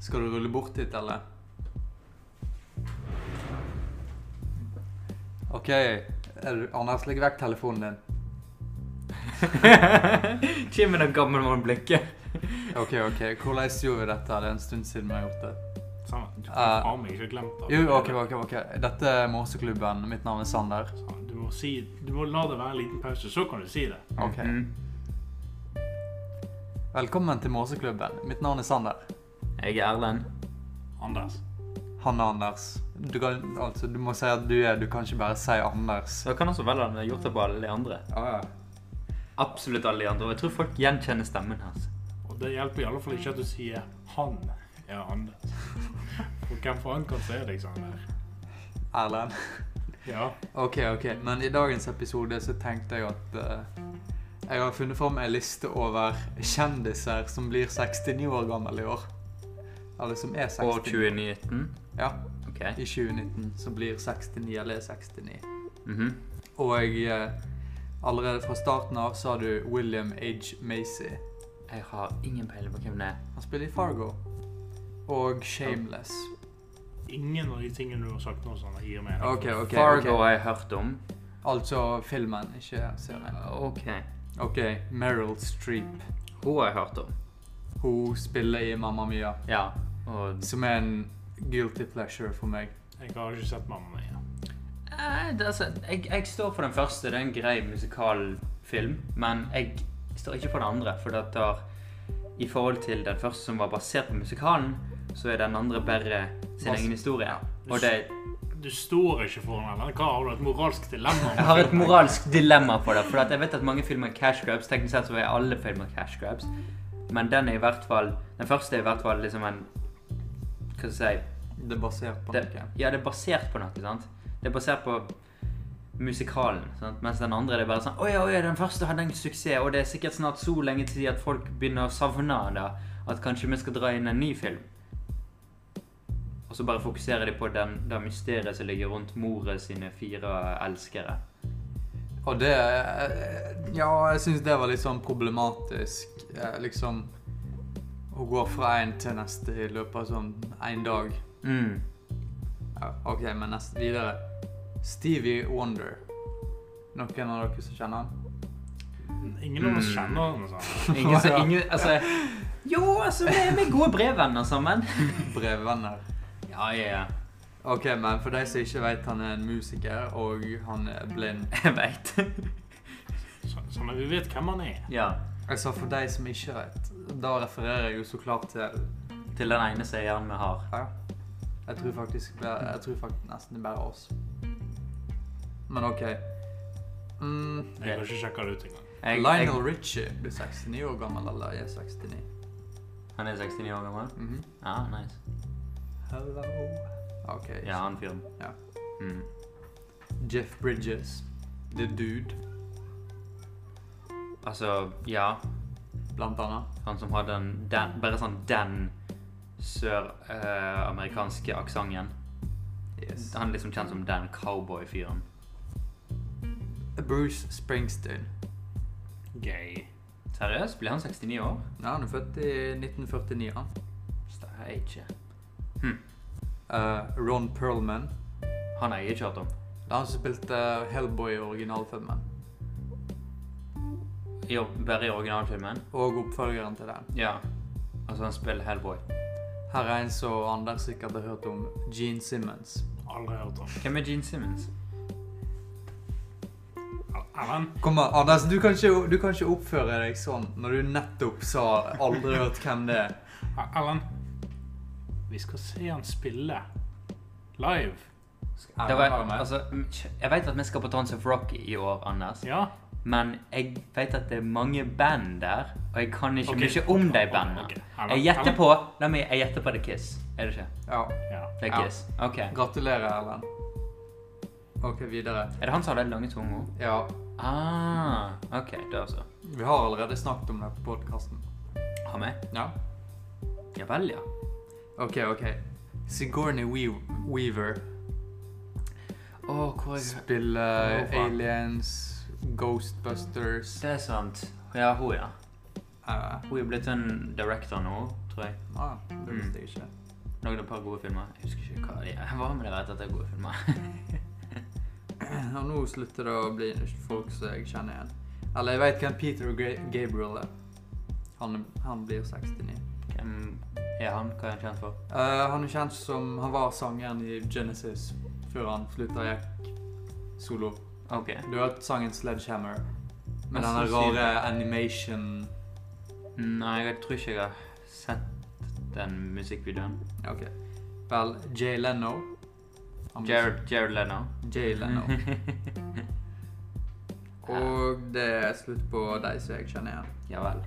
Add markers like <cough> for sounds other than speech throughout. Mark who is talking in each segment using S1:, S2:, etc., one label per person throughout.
S1: Skal du rulle bort hit, eller? OK. Er du- Anders, legg vekk telefonen din.
S2: <laughs> Kjem med det gammelmannblikket.
S1: OK, OK. Hvordan gjorde vi dette? Det er en stund siden vi har gjort det.
S3: Samme. Du kan
S1: Eh,
S3: faen meg ikke glemt det.
S1: Jo, OK, OK. ok. Dette er Måseklubben. Mitt navn er Sander.
S3: Sånn, Du må, si, du må la det være en liten pause, så kan du si det.
S1: Ok.
S2: Mhm.
S1: Velkommen til Måseklubben. Mitt navn er Sander.
S2: Jeg er Erlend.
S3: Anders.
S1: Hanne Anders. Du, kan, altså, du må si at du er Du kan ikke bare si Anders.
S2: Så kan også velge om jeg har gjort det på alle de andre.
S1: Ja, ja.
S2: Absolutt alle de andre. Og jeg tror folk gjenkjenner stemmen hans.
S3: Og det hjelper i alle fall ikke at du sier 'han er Anders'. For hvem faen kan se deg sånn der?
S1: Erlend.
S3: Ja.
S1: Ok, ok. Men i dagens episode så tenkte jeg at eh, jeg har funnet fram en liste over kjendiser som blir 69 år gammel i år. Eller som er 69.
S2: År 2019.
S1: Ja,
S2: Ok.
S1: i 2019 som blir 69 eller er 69.
S2: Mhm.
S1: Og eh, allerede fra starten av så har du William H. Macy.
S2: Jeg har ingen peiling på hvem det er.
S1: Han spiller i Fargo. Og Shameless.
S3: Ingen av de tingene du har sagt nå, sånn, gir meg
S1: Ok, ok,
S2: Fargo
S1: ok.
S2: har jeg hørt om.
S1: Altså filmen, ikke serien.
S2: Ok.
S1: Ok, Meryl Streep.
S2: Hun har jeg hørt om.
S1: Hun spiller i Mamma Mia,
S2: Ja. Og
S1: som er en guilty pleasure for meg.
S3: Jeg har ikke sett mamma mi.
S2: Nei, det er så, jeg, jeg står for den første. Det er en grei musikalfilm. Men jeg står ikke på den andre. For det tar, i forhold til den første som var basert på musikalen, så er den andre bare sin
S1: Bas-
S2: egen historie.
S1: ja.
S2: Og det,
S3: Du står ikke foran henne. Hva har du et moralsk dilemma?
S2: jeg har et moralsk dilemma på det. For at jeg vet at mange filmer er cash grabs. Teknisk sett så er alle filmer cash grabs. Men den er i hvert fall Den første er i hvert fall liksom en Hva skal jeg si
S1: Det er basert på
S2: det,
S1: noe.
S2: ja, det er basert på noe, sant? Det er basert på musikalen, sant? Mens den andre det er bare sånn Oi, oi, den første hadde en suksess, og det er sikkert snart så lenge til at folk begynner å savne det, at kanskje vi skal dra inn en ny film. Og så bare fokuserer de på den, det mysteriet som ligger rundt moret sine fire elskere.
S1: Og det eh, Ja, jeg syns det var litt sånn problematisk. eh, Liksom Å gå fra én til neste i løpet av sånn én dag.
S2: Mm.
S1: Ja, ok, men neste videre. Stevie Wonder. Noen av dere som kjenner han?
S3: Ingen av oss
S2: Mm.
S3: kjenner henne sånn.
S2: Ingen,
S1: <laughs>
S2: så,
S1: Ja.
S2: ingen, altså Jo, altså, vi vi er gode brevvenner sammen.
S1: Brevvenner.
S2: Ja, ja, ja. <laughs>
S1: Ok, men for de som ikke vet, han er en musiker, og han er blind.
S2: Jeg veit.
S3: Så- Sånn at vi vet hvem han er.
S2: <laughs> Ja.
S1: Jeg sa Altså, for de som ikke vet, da refererer jeg jo så klart til
S2: Til den ene seieren vi har.
S1: Ja. Jeg tror faktisk bare- Jeg tror faktisk nesten det er bare oss. Men ok. Mm,
S3: Jeg har ikke sjekka det ut engang.
S2: Jeg- jeg-
S1: Lionel Richie blir 69 år gammel, eller er 69.
S2: Han er 69 år gammel?
S1: Mhm.
S2: Ja, nice.
S1: Hello. Ok.
S2: sånn Ja, han fyren.
S1: Ja.
S2: Mm.
S1: Jeff Bridges. The Dude,
S2: Altså, ja,
S1: blant annet.
S2: han som har den, den bare sånn den søramerikanske aksenten.
S1: Yes.
S2: Han er liksom kjent som den cowboy-fyren.
S1: Bruce Springsteen.
S3: Gay.
S2: Seriøst? Blir han 69 år?
S1: Ja, han er født i 1949, han.
S2: Stemmer ikke.
S1: Eh, Ron Perlman.
S2: Han har jeg ikke hørt om.
S1: Det er han som spilte Hellboy i originalfilmen.
S2: I, bare i originalfilmen?
S1: Og oppfølgeren til den.
S2: Ja. Altså, han spiller Hellboy.
S1: Her er en som Anders sikkert har hørt om. Gene Simmons.
S3: Aldri hørt om.
S2: Hvem er Gene Simmons?
S3: Erlend?
S1: Kom an, Anders, du kan, ikke, du kan ikke oppføre deg sånn når du nettopp sa aldri hørt hvem det er.
S3: Erlend? Vi skal se han spille live.
S2: Det var, altså, jeg vet at vi skal på Tons of Rock i år, Anders.
S3: Ja.
S2: Men jeg vet at det er mange band der, og jeg kan ikke
S3: Ok.
S2: mye om de
S3: Ok,
S2: bandene.
S3: ok. Erlend,
S2: Jeg gjetter
S3: Erlend.
S2: på La meg, jeg gjetter på The Kiss. Er det ikke?
S1: Ja.
S3: Ja.
S2: The
S1: Ja.
S2: Kiss. Ok. Er
S1: Gratulerer, Erlend. Ok, videre.
S2: det han som har den lange tunga?
S1: Ja,
S2: Ah, ok, da så.
S1: vi har allerede snakket om det på podkasten.
S2: Ha med?
S1: Ja.
S2: Ja vel, ja.
S1: Ok, ok. Sigourney Wee- Weaver
S2: Å, hvor er hun?
S1: spiller
S2: Å, faen.
S1: Aliens, Ghostbusters
S2: Det er sant. Ja, hun, ja.
S1: Eh,
S2: Hun er blitt en director nå, tror jeg.
S1: ah, det visste jeg ikke.
S2: Lagde et par gode filmer. Jeg husker ikke hva de er. Hva med det rett etter gode filmer?
S1: Og nå slutter det å bli folk som jeg kjenner igjen. Eller jeg vet hvem Peter Gra- Gabriel er. Han, han blir 69.
S2: Hvem er han? Hva er han kjent for?
S1: Eh, han er kjent som Han var sangeren i Genesis før han slutta gikk solo.
S2: Ok.
S1: Du har hørt sangen 'Sledgehammer'? Med
S2: Mest
S1: den
S2: sannsynlig.
S1: rare animation
S2: Nei, jeg tror ikke jeg har sett den musikkvideoen.
S1: Ok. Vel, Jay Leno Han blir-
S2: Jared, Jared Leno.
S1: Jay Leno. Og det er slutt på de som jeg kjenner igjen.
S2: <laughs> Ja vel.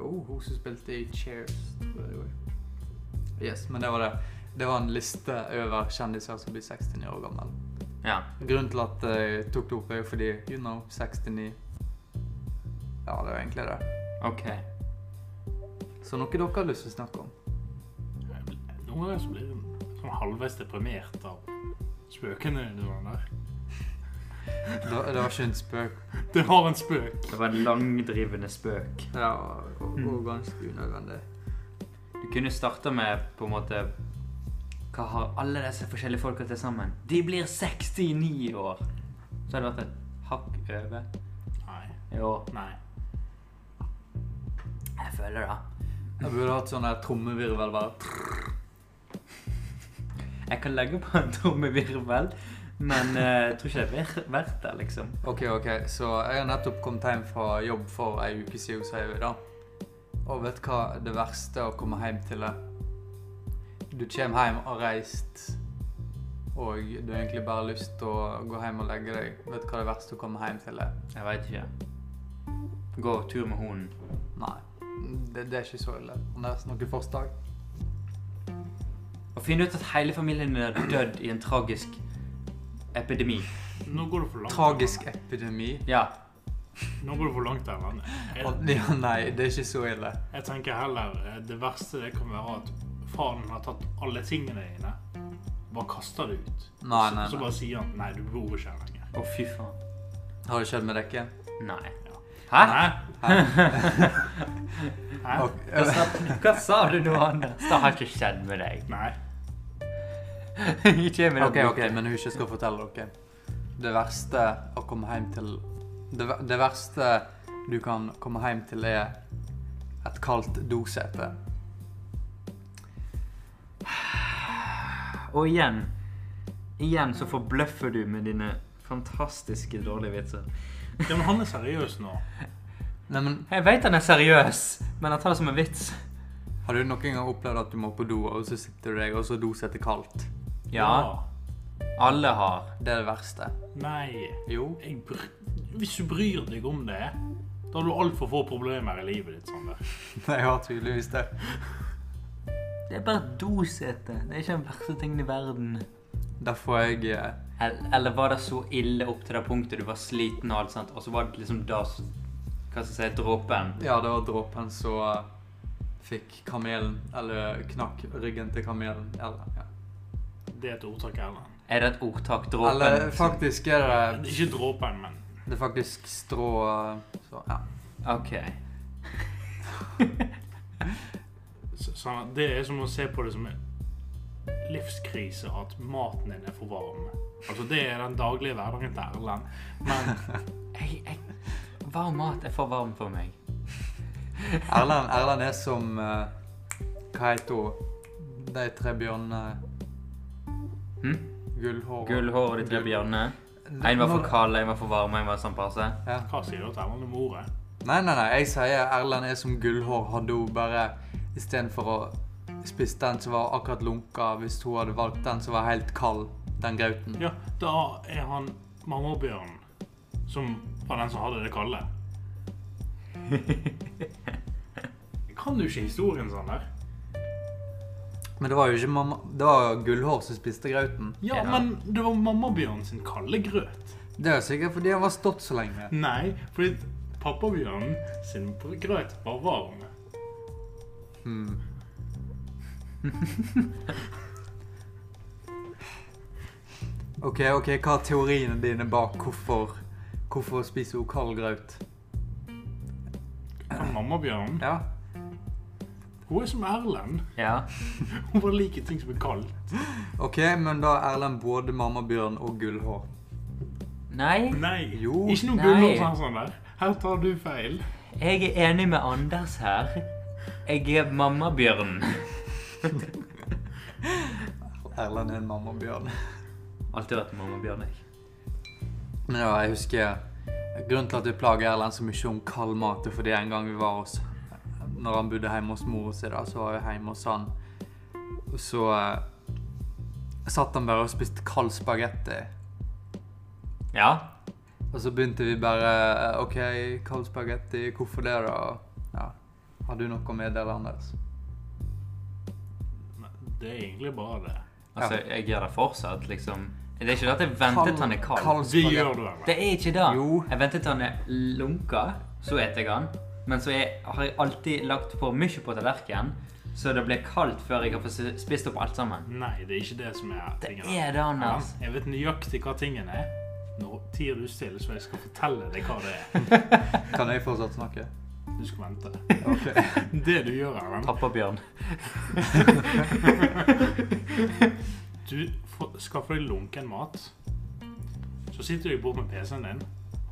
S1: Oh, hun som spilte i Cheers. tror jeg det var. Yes, men det var det. Det var en liste over kjendiser som blir 69 år gammel.
S2: Ja.
S1: Grunnen til at jeg tok det opp, er jo fordi you know, 69 Ja, det er jo egentlig det.
S2: Ok.
S1: Så noe dere har lyst til å snakke om?
S3: Jeg bl- Noen ganger så blir jeg sånn halvveis deprimert av spøkene dine der.
S1: Det var, det var ikke en spøk.
S3: Det var en spøk.
S2: Det var en langdrivende spøk.
S1: Det var og, og ganske unødvendig.
S2: Du kunne starta med på en måte Hva har alle disse forskjellige folka til sammen? De blir 69 år! Så hadde det vært et hakk over.
S3: Nei.
S2: Jo,
S3: Nei.
S2: jeg føler det.
S1: Jeg burde hatt sånn der trommevirvel bare.
S2: Jeg kan legge på en trommevirvel, men eh, jeg tror ikke det er ver- verdt det, liksom.
S1: Ok, ok, så jeg har nettopp kommet hjem fra jobb for ei uke siden hos Høyre, da. Og vet du hva det verste å komme hjem til er? Du kommer hjem og har reist, og du har egentlig bare lyst til å gå hjem og legge deg. Vet du hva det verste å komme hjem til er?
S2: Jeg veit ikke. Gå tur med hunden.
S1: Nei. Det, det er ikke så ille. Anders, noe forslag?
S2: Og finne ut at hele familien din er dødd i en tragisk epidemi.
S3: Nå går du for langt.
S1: Tragisk epidemi?
S2: Ja.
S3: Nå går du for langt der, Lanne.
S1: Å,
S3: Jeg,
S1: Ja, nei, det er ikke så ille.
S3: jeg tenker heller eh, det verste det kan være at faren har tatt alle tingene dine, bare kaster det ut.
S1: Nei,
S3: Så-
S1: nei,
S3: Så
S1: nei.
S3: bare sier han nei, du bor ikke her lenger.
S2: Å, fy faen.
S1: Har det skjedd med dere?
S2: Nei.
S3: Ja.
S2: Hæ? <laughs>
S3: Hæ?
S1: Ok,
S2: Hva sa, hva sa du nå, Anders? Det har ikke skjedd med deg.
S3: Nei.
S2: <laughs> Ikke med
S1: Ok, ok, men husk å fortelle dere. Det verste å komme hjem til Det, ver- det verste du kan komme hjem til, er et kaldt dosete.
S2: Og igjen Igjen så forbløffer du med dine fantastiske dårlige vitser.
S3: Ja, men han er seriøs nå.
S1: Nei, men
S2: Jeg veit han er seriøs, men han tar det som en vits.
S1: har du noen gang opplevd at du må på do, og så sitter du deg, og så er dosetet kaldt?
S2: Ja, alle har.
S1: Det er det verste.
S3: Nei.
S1: Jo. <laughs>
S3: Jeg br Hvis du bryr deg om det, da har du altfor få problemer i livet ditt. Sander.
S1: Jeg har tydeligvis det.
S2: Det er bare et dosete. Det er ikke den verste tingen i verden.
S1: Derfor er jeg eh,
S2: Eller, eller var det så ille opp til det punktet du var sliten og alt sånt, og så var det liksom da s- Hva skal jeg si dråpen?
S1: Ja, det var dråpen som eh, fikk kamelen Eller knakk ryggen til kamelen. Eller, ja.
S3: Det er et ordtak, Erlend.
S2: Er det et ordtak? Dråpen?
S1: eller faktisk er
S3: Det
S1: det
S3: er Ikke dråpen, men
S1: Det er faktisk strå eh, så, ja.
S2: OK.
S3: så- sånn, Det er som å se på det som en livskrise at maten din er for varm. Altså, Det er den daglige hverdagen til Erlend. Men
S2: Jeg, jeg, varm mat er for varm for meg.
S1: Erlend, Erlend er som eh, Hva heter hun? De tre bjørnene
S2: Hm?
S1: Gullhår
S2: Gullhår og de tre bjørnene. En var for kald, en var for varm, en var sånn passe.
S1: ja.
S3: hva sier du til Erlend om ordet?
S1: Nei, nei, nei. Jeg sier Erlend er som gullhår. Hadde hun bare Istedenfor å spise den som var akkurat lunka, hvis hun hadde valgt den som var helt kald, den grauten.
S3: Ja, Da er han mammabjørnen, som var den som hadde det kalde. Kan du ikke historien sånn der?
S1: Men det var jo ikke mamma Det var jo Gullhår som spiste grauten.
S3: Ja,
S2: Ja.
S3: men det var mammabjørnen sin kalde grøt.
S1: Det er jo sikkert fordi han var stått så lenge.
S3: Nei, fordi pappabjørnen sin br- grøt var varm.
S1: Hmm. OK, ok, hva er teoriene dine bak hvorfor Hvorfor spiser hun kald graut?
S3: Hammerbjørn.
S1: Ja.
S3: Hun er som Erlend.
S2: Ja.
S3: Hun bare liker ting som er kaldt.
S1: Ok, men da er Erlend både mammabjørn og gullhår.
S2: Nei,
S3: Nei.
S1: Jo.
S3: Ikke noe
S2: Nei.
S3: gullhår sånn sånn der. Her tar du feil.
S2: jeg er enig med Anders her. Jeg er mammabjørn.
S1: Erlend er en mammabjørn. <laughs>
S2: Alltid vært mammabjørn, jeg.
S1: Men ja, jeg husker Grunnen til at vi plager Erlend så mye om kald mat, er fordi en gang vi var hos Når han bodde hjemme hos mor si, da, så var vi hjemme hos han. Og Så eh, satt han bare og spiste kald spagetti.
S2: Ja.
S1: Og så begynte vi bare eh, OK, kald spagetti, hvorfor det, da? Ja. Har du noe å meddele, Anders?
S3: Nei, Det er egentlig bare det.
S2: Altså, jeg gjør det fortsatt, liksom. Det er ikke det at jeg ventet til han er kald.
S3: Det gjør du, eller?
S2: Det er ikke det.
S1: Jo.
S2: Jeg ventet til han er lunka, så eter jeg han. Men så er, har jeg alltid lagt på mye på tallerkenen, så det blir kaldt før jeg har fått spist opp alt sammen.
S3: Nei, det er ikke det som er
S2: Det
S3: tingen.
S2: er det, Anders.
S3: Jeg vet nøyaktig hva tingen er. Nå tier du stille, så jeg skal fortelle deg hva det er.
S1: Kan jeg fortsatt snakke?
S3: Du skal vente. <laughs>
S1: Ok.
S3: Det du gjør, Erlend
S2: Pappabjørn.
S3: Du får- skaffer deg lunken mat. Så sitter du bort med PC-en din,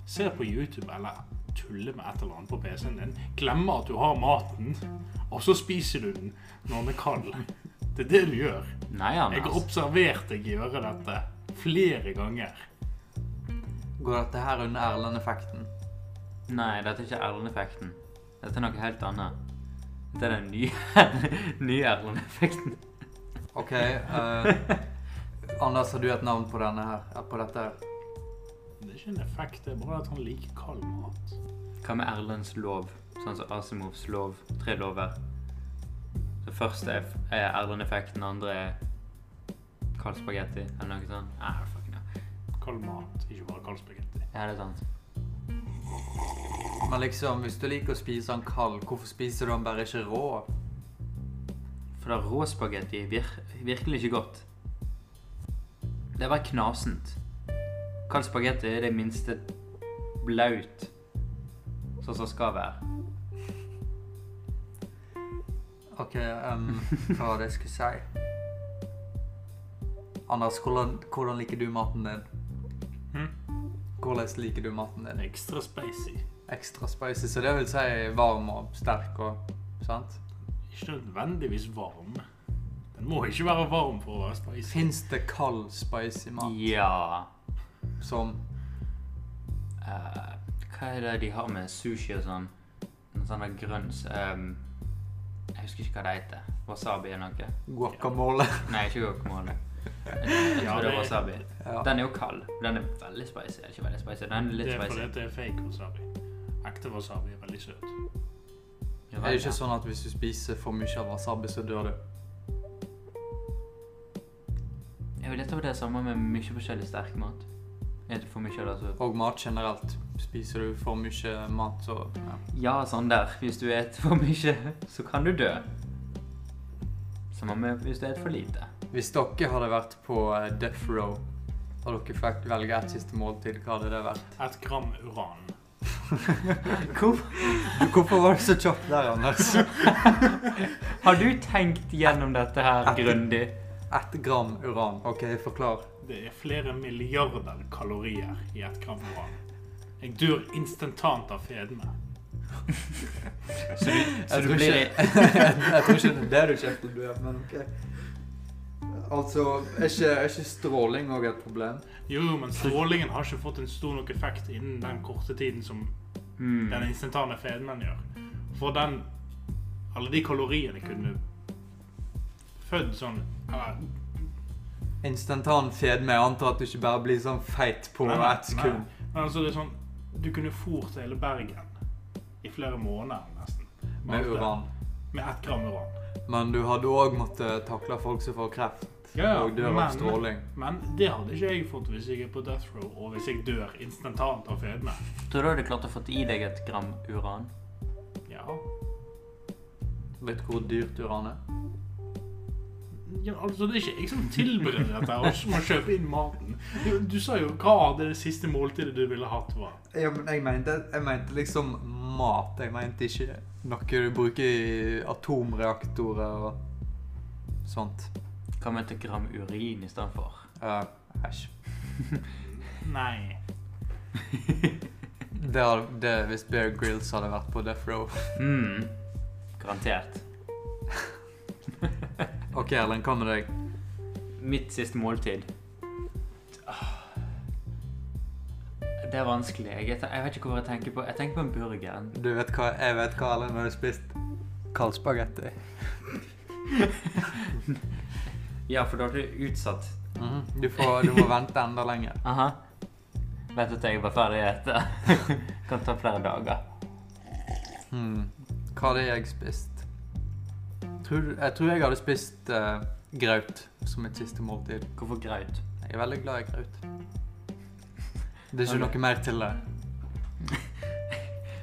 S3: ser på YouTube eller tuller med et eller annet på PC-en din, glemmer at du har maten, og så spiser du den når den er kald. Det er det du gjør.
S2: Nei,
S3: Jeg har
S2: Anders.
S3: observert deg gjøre dette flere ganger.
S1: Går dette her under Erlend-effekten?
S2: Nei, dette er ikke Erlend-effekten. Dette er noe helt annet. Dette er den nye, <laughs> nye Erlend-effekten.
S1: OK. eh, Anders, har du et navn på denne her? eh, På dette her?
S3: Det er ikke en effekt, det er bare at han liker kald mat.
S2: Hva med Erlends lov? Sånn som Asimovs lov. Tre lover. Det første er er Erlend-effekt, den andre er kald spagetti eller noe sånt. Nei, fuck no.
S3: Kald mat, ikke bare kald spagetti.
S2: Ja, det er sant.
S1: Men liksom, hvis du liker å spise den kald, hvorfor spiser du den bare ikke rå?
S2: For det rå spagetti er vir virkelig ikke godt. Det er bare knasent. Kald spagetti er det minste blaut. Sånn som det skal være.
S1: Ok, em, hva var det jeg skulle si? Anders, hvordan, hvordan liker du maten din?
S3: Hm?
S1: Hvordan liker du maten
S3: Den
S1: din?
S3: er ekstra spicy.
S1: Ekstra spicy, så det vil si varm og sterk og sant?
S3: Ikke nødvendigvis varm. Den må ikke være varm for å være spicy.
S1: Fins det kald spicy mat
S2: Ja.
S1: som
S2: Eh, hva er det de har med sushi og sånn? En sånn der grønn s- ehm, Jeg husker ikke hva det heter. Wasabi eller noe?
S1: guacamole? <laughs>
S2: Nei, ikke guacamole. Jeg
S3: Ja,
S2: tror det er
S3: det-
S2: wasabi.
S1: Ja.
S2: Den er jo kald. Den er veldig spicy. Ikke veldig spicy. Den er litt
S3: Det er fordi
S2: spicy.
S3: at det er fake wasabi. Ekte wasabi er veldig søt.
S2: Ja,
S1: Er det
S2: ja.
S1: ikke sånn at hvis du spiser for mye av wasabi, så dør du?
S2: Jeg vil gjette på det er samme med mye forskjellig sterk mat. Er det for mye av det, så
S1: Og mat generelt. Spiser du for mye mat, så ja.
S2: Ja, sånn der. Hvis du spiser for mye, så kan du dø. Samme med hvis du spiser for lite.
S1: <laughs> Hvis dere hadde vært på eh, death row, og dere fikk velge ett siste måltid, hva hadde det vært?
S3: Et gram uran.
S2: Hvorfor?
S1: <laughs> Hvorfor var du så kjapp der, Anders?
S2: Har du tenkt gjennom dette her grundig?
S1: Ett gram uran. OK, forklar.
S3: Det er flere milliarder kalorier i et gram uran. Jeg dør instantant av fedme.
S2: Så du, så
S1: Jeg
S2: du
S1: tror
S2: blir
S1: ikke- <laughs> Jeg tror ikke det er det du kjeft til du er, men OK. Altså, er ikke, er ikke stråling òg et problem?
S3: Jo, men strålingen har ikke fått en stor nok effekt innen den korte tiden som
S2: Mm.
S3: den instantane fedmen gjør. For den Alle de kaloriene kunne født sånn Eller
S1: Instantan fedme. Jeg antar at du ikke bare blir sånn feit på
S3: Nei, nei,
S1: ett sekund.
S3: nei. Men altså, det er sånn Du kunne fôrt hele Bergen i flere måneder nesten. Med alt
S1: Med
S3: det.
S1: uran.
S3: Med ett gram uran.
S1: Men du hadde òg måttet takle folk som får kreft og dør av
S3: men,
S1: stråling.
S3: men det hadde ikke jeg fått hvis jeg er på death row, og hvis jeg dør instantant av fedme.
S2: Tror du du hadde klart å få i deg et gram uran?
S3: Ja.
S1: Vet du hvor dyrt uran er?
S3: ja altså, det er ikke jeg som tilbereder dette, og så må jeg kjøpe inn maten. Du, du sa jo hva det siste måltidet du ville hatt, var.
S1: Ja, men jeg mente, jeg mente liksom mat. Jeg mente ikke Noe du bruker i atomreaktorer og sånt.
S2: Hva med et gram urin istedenfor?
S1: Ja, Æsj.
S3: Nei.
S1: det hadde det hvis Bear Grills hadde vært på Death Row.
S2: Mm. Garantert.
S1: OK, Erlend, hva med deg?
S2: Mitt siste måltid. Ah. Det er vanskelig. Jeg, jeg vet ikke hvor jeg tenker på. Jeg tenker på en burger. En
S1: Du vet hva, Jeg vet hva Erlend hadde spist. Kald spagetti.
S2: Ja, for da er du utsatt.
S1: Mhm. du, får, du må vente enda lenger.
S2: Aha. Vent til jeg var ferdig å ete. <laughs> kan ta flere dager.
S1: Hmm. Hva hadde jeg spist? Tror, du- jeg tror jeg hadde spist eh, graut som mitt siste måltid.
S2: Hvorfor graut?
S1: Jeg er veldig glad i
S2: <laughs>
S1: graut. Det er ikke
S2: Ok.
S1: noe mer til det.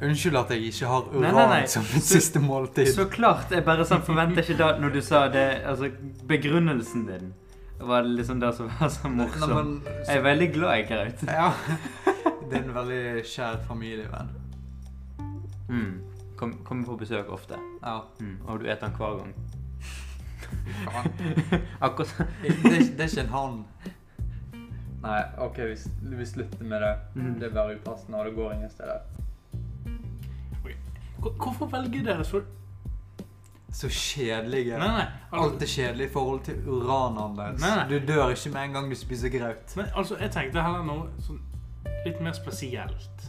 S1: Unnskyld at jeg ikke har
S2: Nei,
S1: uran
S2: nei, nei.
S1: som mitt
S2: Så-
S1: siste måltid.
S2: Så klart! Jeg bare sånn forventer ikke da når du sa det Altså, begrunnelsen din var liksom det som var så
S1: Nei,
S2: morsom.
S1: men-
S2: Jeg er veldig glad i graut. <laughs>
S1: Ja. Det er en veldig kjær familievenn.
S2: Mm. Kom- Kommer på besøk ofte.
S1: Ja.
S2: Mm. Og du eter den hver <laughs> gang.
S1: <laughs> faen.
S2: Akkurat sånn.
S1: Det, det, er- det er ikke en han. Nei, OK, vi, s- vi slutter med det.
S2: Mm.
S1: Det er bare upassende, og det går ingen steder.
S3: Hvor- Hvorfor velger dere så
S1: Så kjedelige.
S3: Nei, nei. altså,
S1: Alt
S3: Al
S1: er kjedelig i forhold til uran, Anders.
S3: Nei, nei.
S1: Du dør ikke med en gang du spiser graut.
S3: nei, altså, jeg tenkte heller noe sånn litt mer spesielt.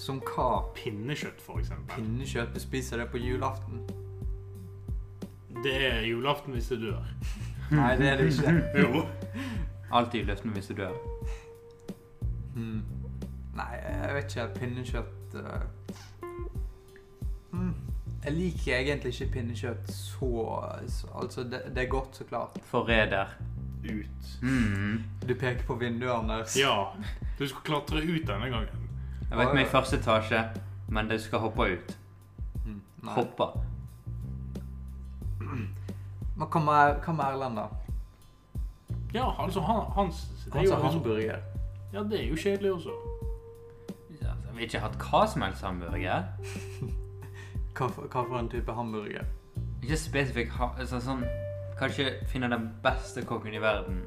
S1: Som hva?
S3: Pinnekjøtt, for eksempel.
S1: Pinnekjøtt? Du spiser det på julaften?
S3: Det er julaften hvis det dør.
S1: Nei, det er det ikke.
S3: Jo.
S2: Alltid løftende hvis du dør.
S1: Hmm. Nei, jeg vet ikke. Pinnekjøtt eh. mm. Jeg liker egentlig ikke pinnekjøtt så så- Altså, det, det er godt, så klart.
S2: Forræder.
S3: Ut.
S2: Mm.
S1: Du peker på vinduet, Anders.
S3: Ja. Du skal klatre ut denne gangen.
S2: Jeg vet vi er i første etasje, men du skal hoppe ut.
S1: Hmm, nei.
S2: Hoppe.
S1: Men hva med, hva med Erlend, da?
S3: Ja, altså, han, hans det
S1: Altså,
S3: er
S1: Han
S3: jo liksom-
S1: sa hamburger.
S3: Ja, det er jo kjedelig også.
S2: Ja, altså, vi har ikke hatt hva som helst hamburger.
S1: Hva for, hva for en type hamburger?
S2: Ikke spesifikk ha... Altså, sånn, kanskje finne den beste kokken i verden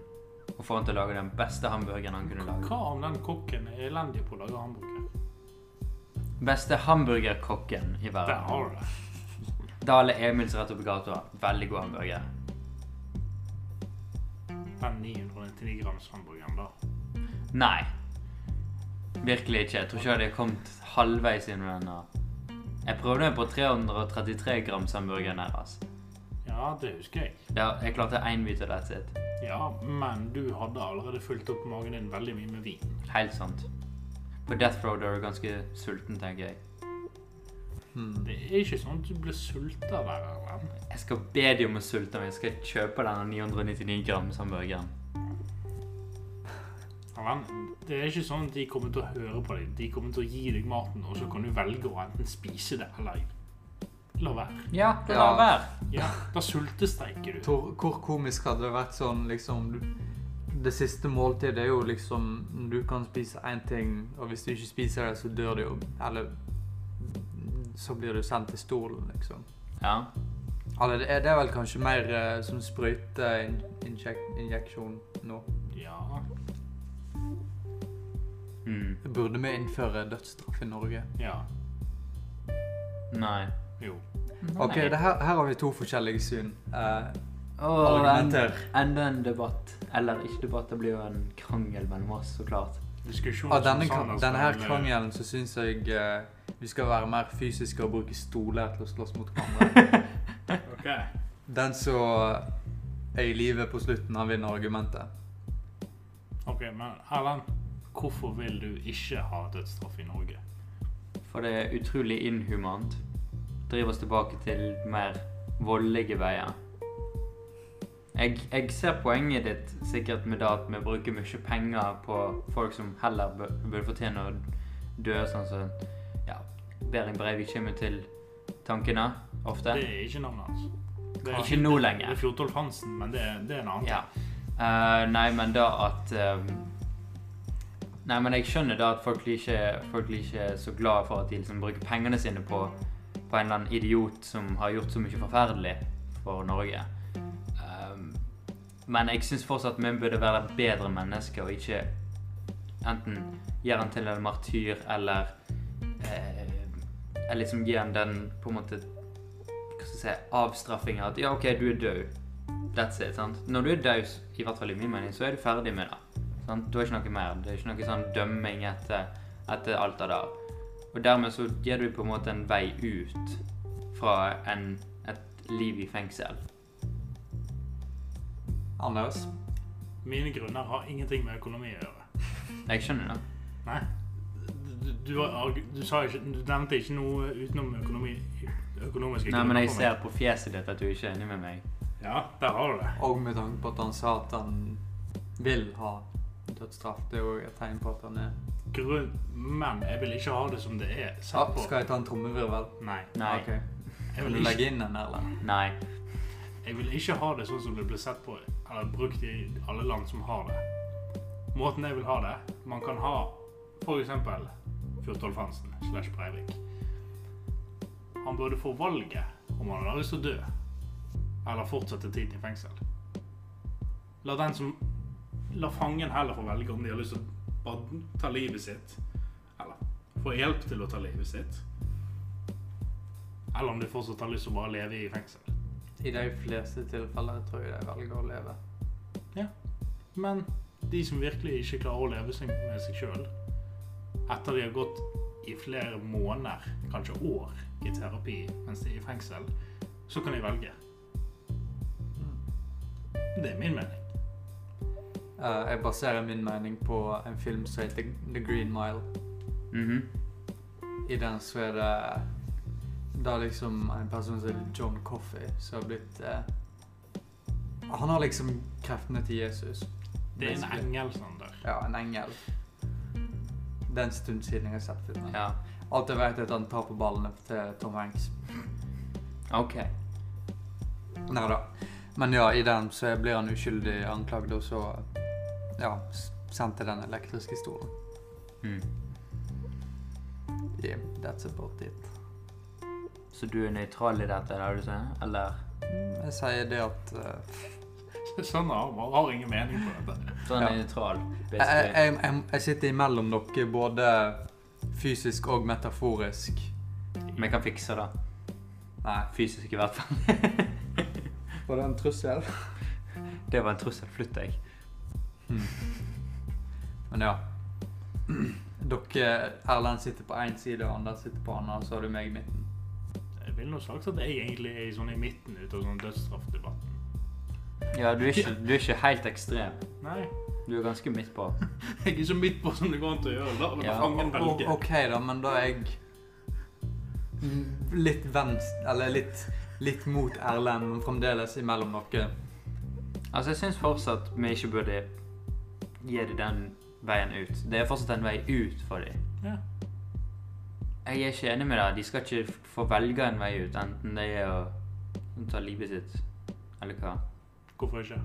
S2: og få han til å lage den beste hamburgeren han kunne lage.
S3: Hva om den kokken er elendig på å lage hamburger?
S2: Beste hamburgerkokken i
S3: Der
S2: verden.
S3: har du det.
S2: Dale Emils Rettopigato. Veldig god hamburger.
S3: Den 999 grams hamburgeren, da.
S2: Nei. Virkelig ikke. Jeg tror ikke jeg hadde kommet halvveis inn med den. og- Jeg prøvde meg på 333 grams hamburgeren deres.
S3: Ja, det husker jeg.
S2: Der jeg klarte én bit av that's it.
S3: Ja, men du hadde allerede fylt opp magen din veldig mye med vin.
S2: Helt sant. På Death Road er du ganske sulten, tenker jeg.
S1: Hmm.
S3: Det er ikke sånn at du blir sulta der, Erlend.
S2: Jeg skal be de om å sulte meg. Jeg skal kjøpe denne 999 grams hamburgeren.
S3: Erlend, det er ikke sånn at de kommer til å høre på deg. De kommer til å gi deg maten, og så kan du velge å enten spise det eller la være.
S2: Ja,
S1: da
S2: det
S1: lar
S2: lar
S1: være.
S2: være.
S3: Ja, da sultestreiker du.
S1: Tor, hvor komisk hadde det vært sånn liksom du, Det siste måltidet er jo liksom Du kan spise én ting, og hvis du ikke spiser det, så dør du jo. Eller så blir du sendt til stolen, liksom.
S2: Ja.
S1: Eller det er, det er vel kanskje mer eh, som sprøyteinjeksjon nå.
S3: Ja,
S2: Mm.
S1: Burde vi innføre dødsstraff i Norge?
S3: ja,
S2: Nei.
S3: jo.
S1: OK, det her, her har vi to forskjellige syn. Eh,
S2: Åh, en-
S1: argumenter.
S2: Enda en debatt. Eller ikke debatt, det blir jo en krangel mellom oss, så klart.
S3: Diskusjon
S1: Av Ah, denne,
S3: som
S1: kra-
S3: Sanders
S1: denne her
S3: ville-
S1: krangelen så syns jeg eh, vi skal være mer fysiske og bruke stoler til å slåss mot hverandre.
S3: Ok.
S1: Den som er i live på slutten, han vinner argumentet.
S3: Ok, men Erlend, hvorfor vil du ikke ha dødsstraff i Norge?
S2: For det er utrolig inhumant. Driver oss tilbake til mer voldelige veier. Jeg, jeg ser poenget ditt sikkert med det at vi bruker mye penger på folk som heller bø- burde fortjene å dø, sånn som ja, Behring Breivik kommer til tankene ofte.
S3: Det er ikke navnet hans. Det er
S2: Ikke nå
S3: Det
S2: lenger.
S3: er Fjordolf Hansen, men det er, det er en annen.
S2: Ja. Eh, nei, men da at eh, Nei, men jeg skjønner da at folk blir ikke, folk blir ikke så glad for at de liksom bruker pengene sine på, på en eller annen idiot som har gjort så mye forferdelig for Norge. Ehm, men jeg syns fortsatt vi burde være bedre mennesker og ikke enten gjøre han til en martyr eller eh, Eller liksom gi han den på en måte hva skal jeg si, avstraffinga at ja, OK, du er død. That's it. sant? Når du er død, s- i hvert fall i min mening, så er du ferdig med det. sant? Du er ikke noe mer. Det er ikke noe sånn dømming etter, etter alt det der. Og dermed så gir du på en måte en vei ut fra en, et liv i fengsel.
S1: Anders?
S3: Mine grunner har ingenting med økonomi å gjøre.
S2: Jeg skjønner det.
S3: Nei. Du, du, har arg- du, sa ikke, du nevnte ikke noe utenom økonomi, økonomiske
S2: Nei, men jeg
S3: for meg.
S2: ser på fjeset ditt at du ikke er enig med meg.
S3: Ja, der har du det.
S1: Og med tanke på at han sa at han vil ha dødsstraff. Det er jo et tegn på at han er
S3: Grunn, men jeg vil ikke ha det som det er.
S1: ja,
S3: Sett på.
S1: Ah, Skal jeg ta en trommevirvel?
S3: Nei.
S2: Nei.
S1: Ok.
S3: Jeg
S1: Vil
S3: vil,
S1: du
S3: ikke,
S1: legge inn en, eller?
S2: Nei.
S3: jeg vil ikke ha det sånn som det ble sett på eller brukt i alle land som har det. Måten jeg vil ha det Man kan ha for eksempel Fjortolf Hansen slash Breivik. Han burde få valget om han hadde lyst til å dø eller fortsette tiden i fengsel. La den som La fangen heller få velge om de har lyst til å bare ta livet sitt eller få hjelp til å ta livet sitt. Eller om de fortsatt har lyst til å bare leve i fengsel.
S1: I de fleste tilfeller tror jeg de velger å leve.
S3: Men de som virkelig ikke klarer å leve seg med seg sjøl, etter de har gått i flere måneder, kanskje år, i terapi mens de er i fengsel, så kan de velge. Det er min mening.
S1: Eh, jeg baserer min mening på en film som heter The Green Mile.
S2: Mhm.
S1: I den så er det eh, da liksom en person som heter John Coffey som har blitt eh, Han har liksom kreftene til Jesus.
S3: Det er en
S1: basically.
S3: engel som dør.
S1: Ja, en engel. Det er en stund siden jeg har sett filmen.
S2: Ja.
S1: Alt jeg vet, er at han tar på ballene til Tom Hanks.
S2: OK.
S1: Nei da. Men ja, i den så blir han uskyldig anklagd, og så ja, s- sendt til den elektriske stolen.
S2: Mm.
S1: Yeah, that's about it.
S2: Så du er nøytral i dette, eller? du sier? Eller
S1: Mm, Jeg sier det at eh,
S3: <laughs> Sånn har man har ingen mening på dette.
S2: sånn
S1: Ja.
S2: nøytral,
S1: jeg, jeg,
S2: basically?
S1: jeg, jeg- jeg sitter imellom dere både fysisk og metaforisk.
S2: Vi kan fikse det.
S1: Nei.
S2: Fysisk, i hvert fall. <laughs>
S1: Var det en trussel?
S2: Det var en trussel. Flytt deg.
S1: Men ja. <clears throat> Dere, Erlend sitter på én side, og Anders sitter på annen, og så har du meg i midten.
S3: Jeg ville nå sagt at jeg egentlig er i sånn i midten ut av sånn dødsstraffdebatten.
S2: Ja, du er ikke, du er ikke helt ekstrem.
S3: Nei, <laughs>
S2: Du er ganske midt på.
S3: jeg er så midt på som det går an til å gjøre. La la
S2: Ja,
S3: fangen
S1: O-
S3: velge.
S1: OK, da, men da er jeg mm, litt venst... Eller litt, litt mot Erlend, men fremdeles imellom dere.
S2: Altså, jeg syns fortsatt vi ikke burde gi dem den veien ut. Det er fortsatt en vei ut for dem.
S3: Ja.
S2: Jeg er ikke enig med deg. De skal ikke f- få velge en vei ut, enten det er å ta livet sitt, eller hva.
S3: Hvorfor ikke?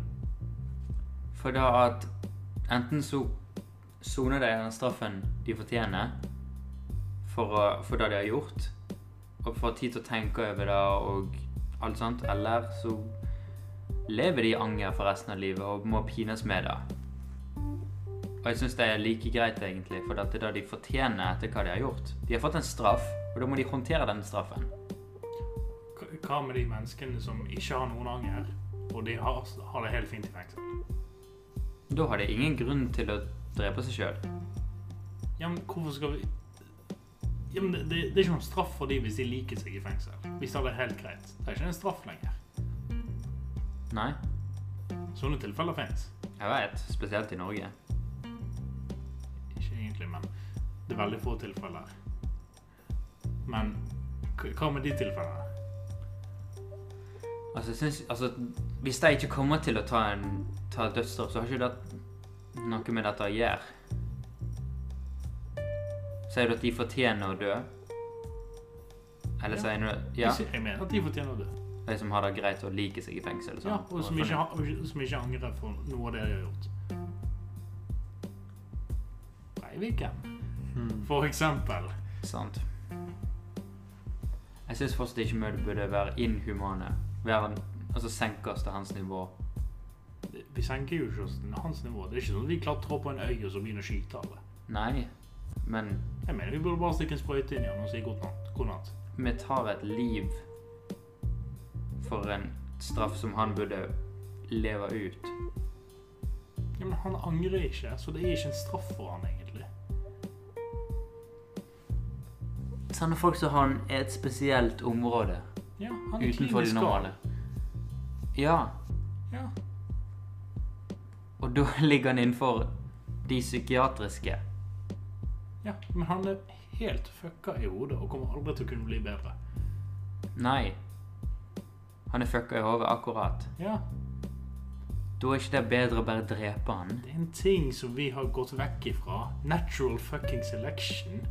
S2: For da at enten så soner de den straffen de fortjener for, å, for det de har gjort, og får tid til å tenke over det og alt sånt, eller så lever de i anger for resten av livet og må pines med det. Og jeg syns det er like greit, egentlig, for det er det de fortjener etter hva de har gjort. De har fått en straff, og da må de håndtere den straffen.
S3: Hva- Hva med de menneskene som ikke har noen anger, og de har, har det helt fint i fengsel?
S2: Da har de ingen grunn til å drepe seg sjøl.
S3: Ja, men hvorfor skal vi ja, men det, det, det er ikke noen straff for dem hvis de liker seg i fengsel. Hvis de har det er helt greit. Det er ikke en straff lenger.
S2: Nei,
S3: Sånne tilfeller fins.
S2: jeg veit. Spesielt i Norge.
S3: Ikke egentlig, men det er veldig få tilfeller. Men k- hva med de tilfellene?
S2: Altså, jeg synes, altså, hvis de ikke kommer til å ta, en, ta dødsstraff, så har ikke det noe med dette å gjøre. Sier du at de fortjener å dø? Eller
S3: Ja.
S2: sier du ja,
S3: Jeg mener at de fortjener å dø.
S2: de som har det greit og liker seg i fengsel? og sånn.
S3: Ja, og som ikke, har- og som ikke angrer for noe av det de har gjort. Breiviken,
S1: Hmm.
S3: for eksempel.
S2: Sant. Jeg syns fortsatt ikke mødre burde være inhumane. Være, altså senkes til hans nivå.
S3: Vi senker jo ikke oss til hans nivå. Det er ikke sånn at vi klatrer på en øy og så begynner å skyte alle.
S2: Nei, men
S3: Jeg mener vi burde bare stikke en sprøyte inn i han og si god natt. God natt.
S2: vi tar et liv for en straff som han burde leve ut.
S3: Ja, men han angrer ikke, så det er ikke en straff for han egentlig.
S2: Sånne folk som han er et spesielt område
S3: Ja, han er
S2: utenfor de
S3: klinisk
S2: normale.
S3: gal.
S2: Ja,
S3: Ja.
S2: og da <laughs> ligger han innenfor de psykiatriske.
S3: ja, men han er helt fucka i hodet og kommer aldri til å kunne bli bedre.
S2: Nei. Han er fucka i hodet akkurat.
S3: Ja,
S2: Da er ikke det bedre å bare drepe han.
S3: det er en ting som vi har gått vekk ifra. Natural fucking selection.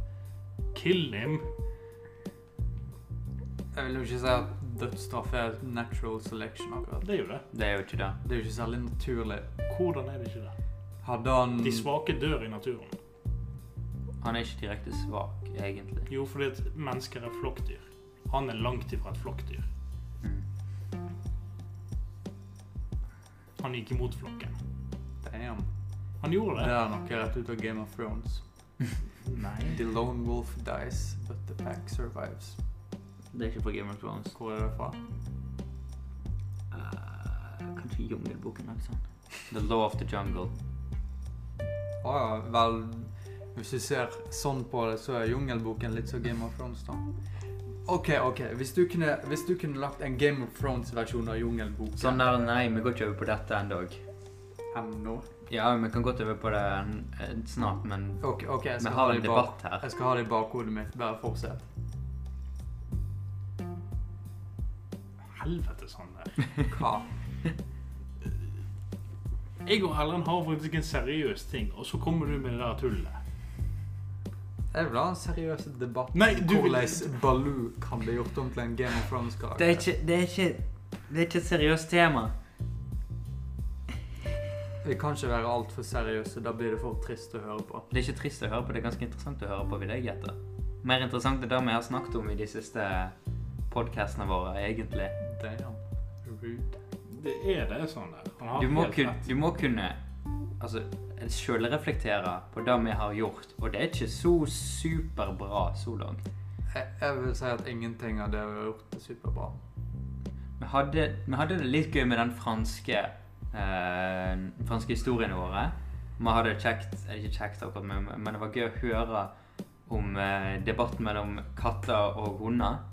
S3: Kill him.
S1: Jeg vil jo ikke si at dødsstraff er natural selection, akkurat.
S3: Det er jo det.
S2: Det er jo ikke det.
S1: Det er jo ikke særlig naturlig.
S3: Hvordan er det ikke det?
S1: Hadde han
S3: De svake dør i naturen.
S2: Han er ikke direkte svak, egentlig.
S3: Jo, fordi at mennesker er flokkdyr. Han er langt ifra et flokkdyr.
S2: Mm.
S3: Han gikk imot flokken.
S1: Damn.
S3: Han gjorde
S1: Det
S3: det.
S1: er noe rett ut av Game of Thrones.
S3: Nei.
S1: The lone wolf dies, but the pack survives.
S2: Det er ikke fra Game of Thrones.
S1: Hvor er det fra?
S2: Eh, kanskje Jungelboken eller sånn. The Law of the Jungle.
S1: Å ja, vel Hvis du ser sånn på det, så er Jungelboken litt som Game of Thrones, da. OK, OK. Hvis du kunne, hvis du kunne lagt en Game of Thrones-versjon av Jungelboken
S2: Sånn der, nei, vi går ikke over på dette en dag.
S1: ennå
S2: Ja, vi kan godt over på det en- en snart, men
S1: OK, ok, jeg
S2: vi
S1: skal
S2: har
S1: ha det
S2: en
S1: i bak-
S2: debatt her.
S1: jeg skal ha det i bakhodet mitt. Bare fortsett.
S3: Helvete sånn der.
S1: Hva?
S3: Jeg og Erlend har faktisk en seriøs ting, og så kommer du med det der tullet.
S1: Jeg vil ha en seriøs debatt
S3: Nei,
S1: om
S3: du vil-
S1: hvordan Baloo kan bli gjort om til en Game of Thrones-karakter.
S2: Det er ikke, det er ikke, det er ikke et seriøst tema.
S1: Vi kan ikke være altfor seriøse. Da blir det for trist å høre på.
S2: Det er ikke trist å høre på, det er ganske interessant å høre på, vil jeg gjette. Mer interessant enn det vi har snakket om i de siste podcastene våre, egentlig.
S1: Damn. Rude.
S3: Det er det sånn der. Han har
S2: Du må,
S3: helt
S2: kun,
S3: rett.
S2: du må kunne altså, sjølreflektere på det vi har gjort, og det er ikke så superbra så langt.
S1: Jeg, jeg vil si at ingenting av det vi har gjort, er superbra.
S2: Vi hadde, vi hadde det litt gøy med den franske, eh, franske historiene våre. Vi hadde det kjekt, eller ikke kjekt akkurat, men, men det var gøy å høre om eh, debatten mellom katter og hunder.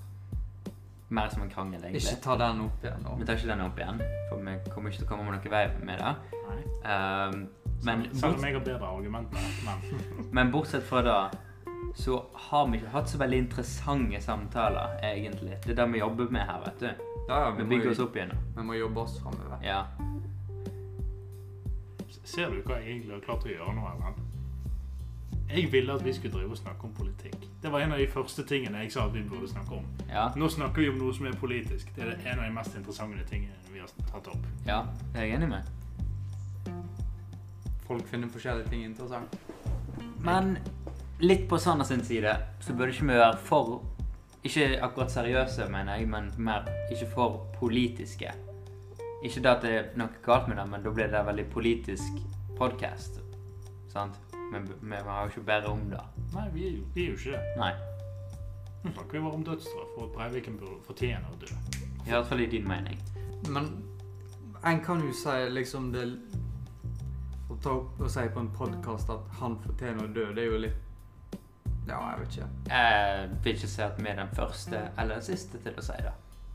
S2: Mer som en krangel,
S1: Ikke
S2: egentlig.
S1: ta den opp igjen nå.
S2: Vi tar ikke den opp igjen, for vi kommer ikke til å komme noen vei med det.
S3: Nei.
S2: Eh, men
S3: Selv om jeg har bedre argumenter, men
S2: Men bortsett fra det, så har vi ikke hatt så veldig interessante samtaler, egentlig. Det er det vi jobber med her, vet du.
S1: Ja, ja, vi,
S2: Vi
S1: må,
S2: bygger oss
S1: jo-
S2: opp igjen.
S1: vi må jobbe oss framover.
S2: Ja.
S3: ser du hva jeg egentlig har klart å gjøre nå, Erlend? Jeg ville at vi skulle drive og snakke om politikk. Det var en av de første tingene jeg sa at vi burde snakke om.
S2: Ja.
S3: Nå snakker vi om noe som er politisk. Det er en av de mest interessante tingene vi har tatt opp.
S2: Ja, det er jeg enig med.
S1: Folk finner forskjellige ting interessant.
S2: Men litt på Sander sin side, så burde ikke vi være for Ikke akkurat seriøse, mener jeg, men mer ikke for politiske. Ikke det at det er noe galt med det, men da blir det en veldig politisk podkast. Sant? Men vi vi har jo ikke bedre om det.
S3: Nei, vi er jo, vi er jo ikke det.
S2: Nei.
S3: Nå snakker vi bare om dødsstraff, og at Breiviken burde fortjene å dø.
S2: I hvert fall i din mening.
S1: Men en kan jo si liksom det Å ta opp og si på en podkast at han fortjener å dø, det er jo litt Ja, jeg vet ikke.
S2: Jeg vil ikke si at vi er den første eller den siste til å si det.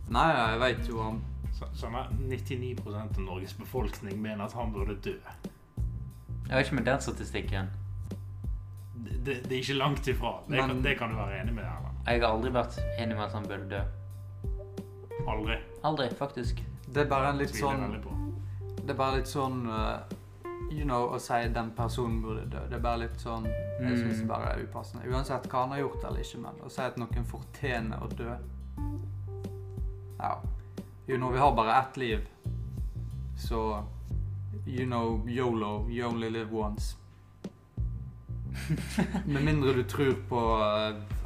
S1: Nei, ja, jeg vet jo han
S3: Så- Sånn at 99 av Norges befolkning mener at han burde dø.
S2: Jeg vet ikke med den statistikken.
S3: Det, det, det er ikke langt ifra. Det, kan,
S1: Men-
S3: det kan du være enig med, Erlend.
S2: Jeg har aldri vært enig med at han burde dø.
S3: Aldri.
S2: Aldri, faktisk.
S1: Det er bare en litt
S3: Tviler jeg
S1: sånn
S3: veldig på.
S1: Det er bare litt sånn eh, You know, å si den personen burde dø. Det er bare litt sånn Jeg
S2: Mm.
S1: syns det bare er upassende. Uansett hva han har gjort eller ikke, men å si at noen fortjener å dø Ja. You know, vi har bare ett liv. Så You know, yolo. You only live once. Med mindre du tror på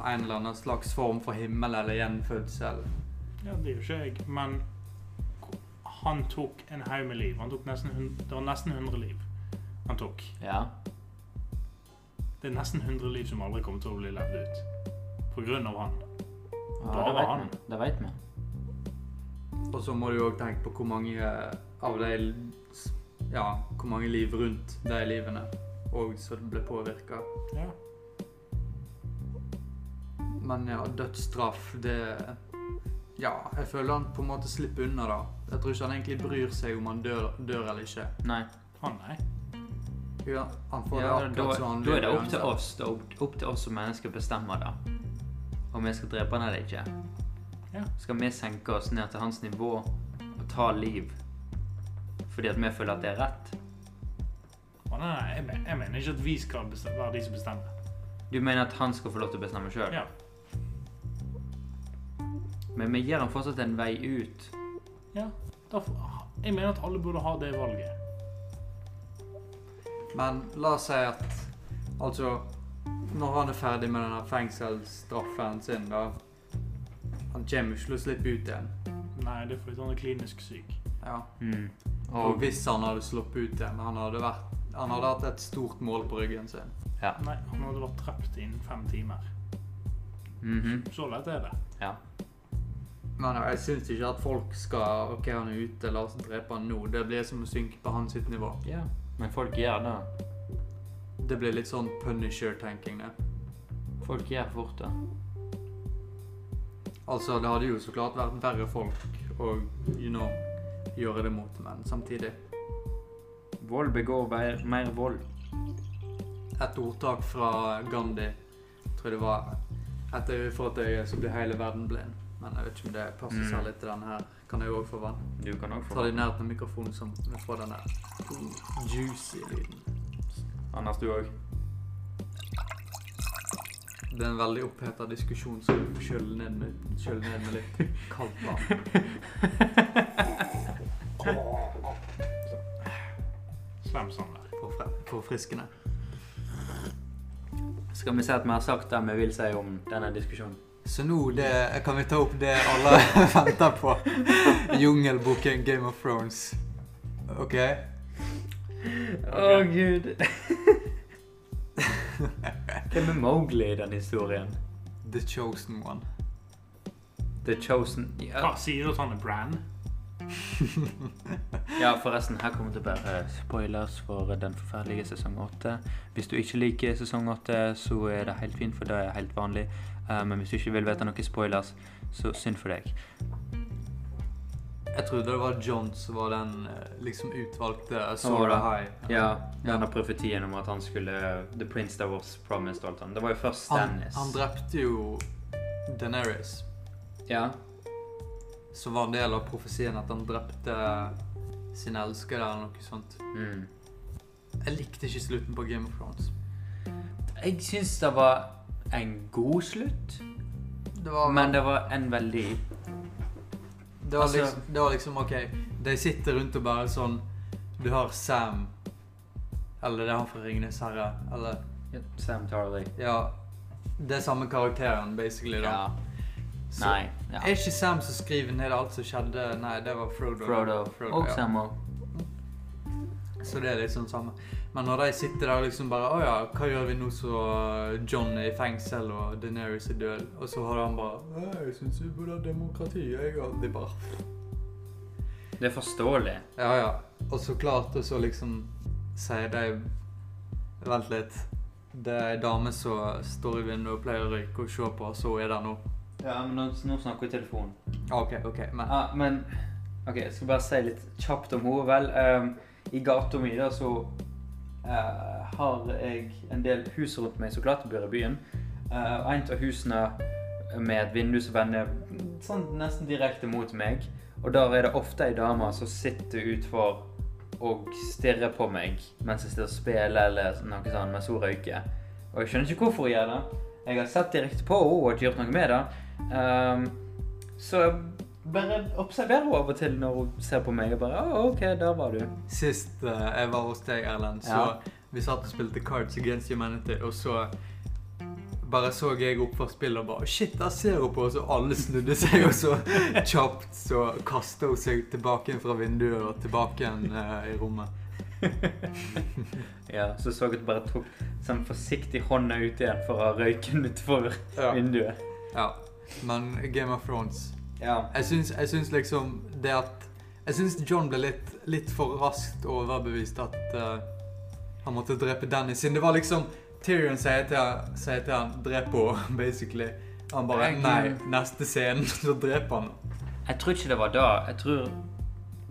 S1: eh, en eller annen slags form for himmel eller gjenfødsel.
S3: Ja, det gjør ikke jeg, men han tok en haug med liv. Han tok nesten, hun- det var nesten 100 liv han tok.
S2: Ja.
S3: Det er nesten 100 liv som aldri kommer til å bli levd ut. På grunn av han.
S2: ja
S3: Da
S2: det
S3: var
S2: vet
S3: han.
S2: vi. Det vet vi.
S1: Og så må du òg tenke på hvor mange eh, av de Ja, hvor mange liv rundt de livene òg som ble påvirka.
S3: Ja.
S1: Men ja, dødsstraff, det Ja, jeg føler han på en måte slipper unna, da. Jeg tror ikke han egentlig bryr seg om han dør, dør eller ikke.
S2: Nei.
S3: Han, nei.
S1: Ja, han får
S2: Ja,
S1: det
S2: da,
S1: akkurat som han
S2: da er det opp til
S1: uansett.
S2: oss det er opp, opp til oss som mennesker å bestemme da. om vi skal drepe han eller ikke.
S3: Ja.
S2: Skal vi senke oss ned til hans nivå og ta liv fordi at vi føler at det er rett?
S3: Å, nei, nei jeg, men- jeg mener ikke at vi skal bestem- være de som bestemmer.
S2: Du mener at han skal få lov til å bestemme sjøl?
S3: Ja.
S2: Men vi gir han fortsatt en vei ut.
S3: Da får- jeg mener at alle burde ha det valget.
S1: Men la oss si at Altså, når han er ferdig med denne fengselsstraffen sin, da Han kommer ikke til å slippe ut igjen.
S3: Nei, det er fordi han er klinisk syk.
S1: Ja.
S2: Mm.
S1: Og
S2: Og
S1: hvis han hadde sluppet ut igjen, han hadde, vært, han hadde hatt et stort mål på ryggen sin.
S2: Ja.
S3: Nei, han hadde vært drept innen fem timer.
S2: Mhm.
S3: Så lett er det.
S2: Ja.
S1: Men jeg syns ikke at folk skal OK, han er ute, la oss drepe han nå. Det blir som å synke på hans sitt nivå.
S2: ja. Men folk gjør det.
S1: Det blir litt sånn punisher-tenking, det.
S2: Folk gjør fort det.
S1: Altså, det hadde jo så klart vært verre folk å, you know, gjøre det mot, men samtidig
S2: Vold begår mer, mer vold.
S1: et ordtak fra Gandhi. Jeg tror det var etter vi får et øye, så blir hele verden blind. Men jeg vet ikke om det passer
S2: Mm.
S1: særlig til denne her. Kan jeg òg få vann?
S2: Du kan òg
S1: Ta
S2: få
S1: det nært med mikrofonen, så vi får den der juicy lyden.
S2: Anders, du òg.
S1: Det er en veldig oppheta diskusjon som kjøler ned med, kjøler ned med litt <laughs> kaldt vann.
S3: Slem sånn der.
S1: For, fre for friskene.
S2: Skal vi si at vi har sagt det vi vil si om denne diskusjonen?
S1: Så nå det, kan vi ta opp det alle <laughs> venter på. Jungelboken Game of Thrones. OK?
S2: Å, gud. <laughs> Hvem er Mowgli i den historien?
S1: The Chosen One. <laughs>
S2: The Chosen
S3: Hva
S2: Ja,
S3: sier du at han er Bran?
S2: ja forresten, her kommer det bare spoilers for den forferdelige sesong 8. Hvis du ikke liker sesong 8, så er det helt fint, for det er helt vanlig. Eh, Men hvis du ikke vil vite noen spoilers, så synd for deg.
S1: Jeg trodde det var John som var den eh, liksom utvalgte
S2: Han var
S1: Sora High.
S2: Ja, denne profetien om at han skulle The Prince that was promised og alt sånt. Det var jo først
S1: Han,
S2: Stannis.
S1: han drepte jo Daenerys,
S2: Ja.
S1: som var en del av profesien at han drepte sin elskede eller noe sånt.
S2: Mm.
S1: Jeg likte ikke slutten på Game of Thrones.
S2: Jeg syns det var en god slutt,
S1: Det var,
S2: men det var en veldig
S1: det var,
S2: altså-
S1: liksom, det var liksom OK, de sitter rundt og bare sånn Du har Sam Eller det er han fra Ringenes herre. Eller
S2: Sam Tarley.
S1: Ja. Det er samme karakteren, basically. da.
S2: Ja.
S1: Så-
S2: Nei. Ja.
S1: Er ikke Sam som skriver ned alt som skjedde? Nei, det var Frodo.
S2: Frodo.
S1: Frodo,
S2: Og
S1: ja.
S2: Sam òg.
S1: Så det er liksom samme. Men når de sitter der og liksom bare Å ja, hva gjør vi nå så John er i fengsel og Deneris er død? Og så har han bare «Nei, Jeg syns vi burde ha demokrati, jeg. Og de bare
S2: Det er forståelig.
S1: Ja ja. Og så klart, og så liksom sier de Vent litt. Det er ei dame som står i vinduet og pleier å røyke og se på, og så er det nå.
S2: Ja, men nå, nå snakker vi i telefonen.
S1: Ja, OK, OK. Men
S2: Ja, men OK, jeg skal bare si litt kjapt om henne. Vel, ehm, i gata mi da så eh, har jeg en del hus rundt meg, så klart jeg bor i byen. Eh, og en av husene med et vindu som vender sånn nesten direkte mot meg. Og der er det ofte ei dame som sitter utfor og stirrer på meg mens jeg sitter og spiller eller noe sånt mens hun røyker. Og jeg skjønner ikke hvorfor hun gjør det. Jeg har sett direkte på henne og ikke gjort noe med det. Ehm, så jeg bare observerer henne av og til når hun ser på meg og bare «Å, OK, der var du.
S1: sist eh, jeg var hos deg, Erlend, så Vi satt og spilte Cards Against Humanity, og så bare så jeg opp for spillet og bare Shit, der ser hun på oss! Og alle snudde seg, og så kjapt så kasta hun seg tilbake inn fra vinduet og tilbake igjen eh, i rommet.
S2: Ja, så så jeg at du bare tok sånn forsiktig hånda ut igjen for å ha røyken utenfor
S1: Ja.
S2: vinduet.
S1: ja. Men Game of Thrones
S2: Ja.
S1: Jeg syns, jeg syns liksom det at Jeg syns John ble litt, litt for raskt overbevist at eh, han måtte drepe Danny, siden det var liksom Tyrion sier til, han- sier til han 'drep henne', <laughs> basically. Han bare
S2: Jeg-
S1: Nei, neste scene, <laughs> så dreper han henne.
S2: Jeg tror ikke det var da. Jeg tror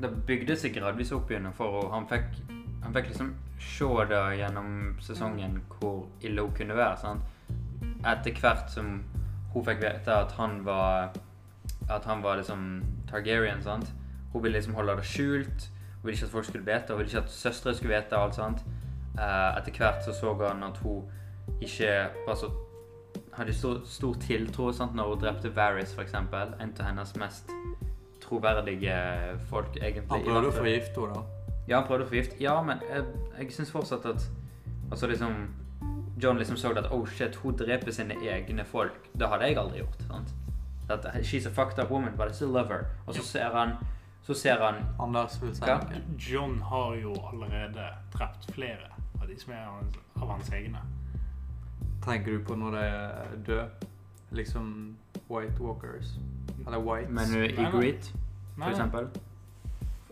S2: det bygde seg gradvis opp igjen for henne. Han fikk, han fikk liksom se det gjennom sesongen
S1: Mm.
S2: hvor ille hun kunne være. Sant? Etter hvert som hun fikk vite at han var At han var liksom Targaryen. Sant? Hun ville liksom holde det skjult. Hun ville ikke at folk skulle vite, hun ville ikke at søstre skulle vite. alt sant? Eh, Etter hvert så så han at hun ikke var så hadde stor, stor tiltro sant, når hun drepte Varys, for eksempel. En av hennes mest troverdige folk, egentlig.
S1: Han
S2: i
S1: prøvde å
S2: hvert fall.
S1: forgifte henne, da.
S2: Ja, han prøvde å forgifte. Ja, men jeg, jeg syns fortsatt at Altså liksom John liksom så det at oh shit, hun dreper sine egne folk. Det hadde jeg aldri gjort. sant? At She's a fucked up woman, but I still love her. Og så ser han Så ser han
S1: Anders vil si
S2: Ja.
S1: noe.
S3: John har jo allerede drept flere av de som er hans, av hans egne.
S1: Tenker du på når de er døde? Liksom White Walkers? Eller Whites?
S2: Men hun er i
S3: Nei, nei.
S2: Greed, for
S3: Nei,
S2: eksempel.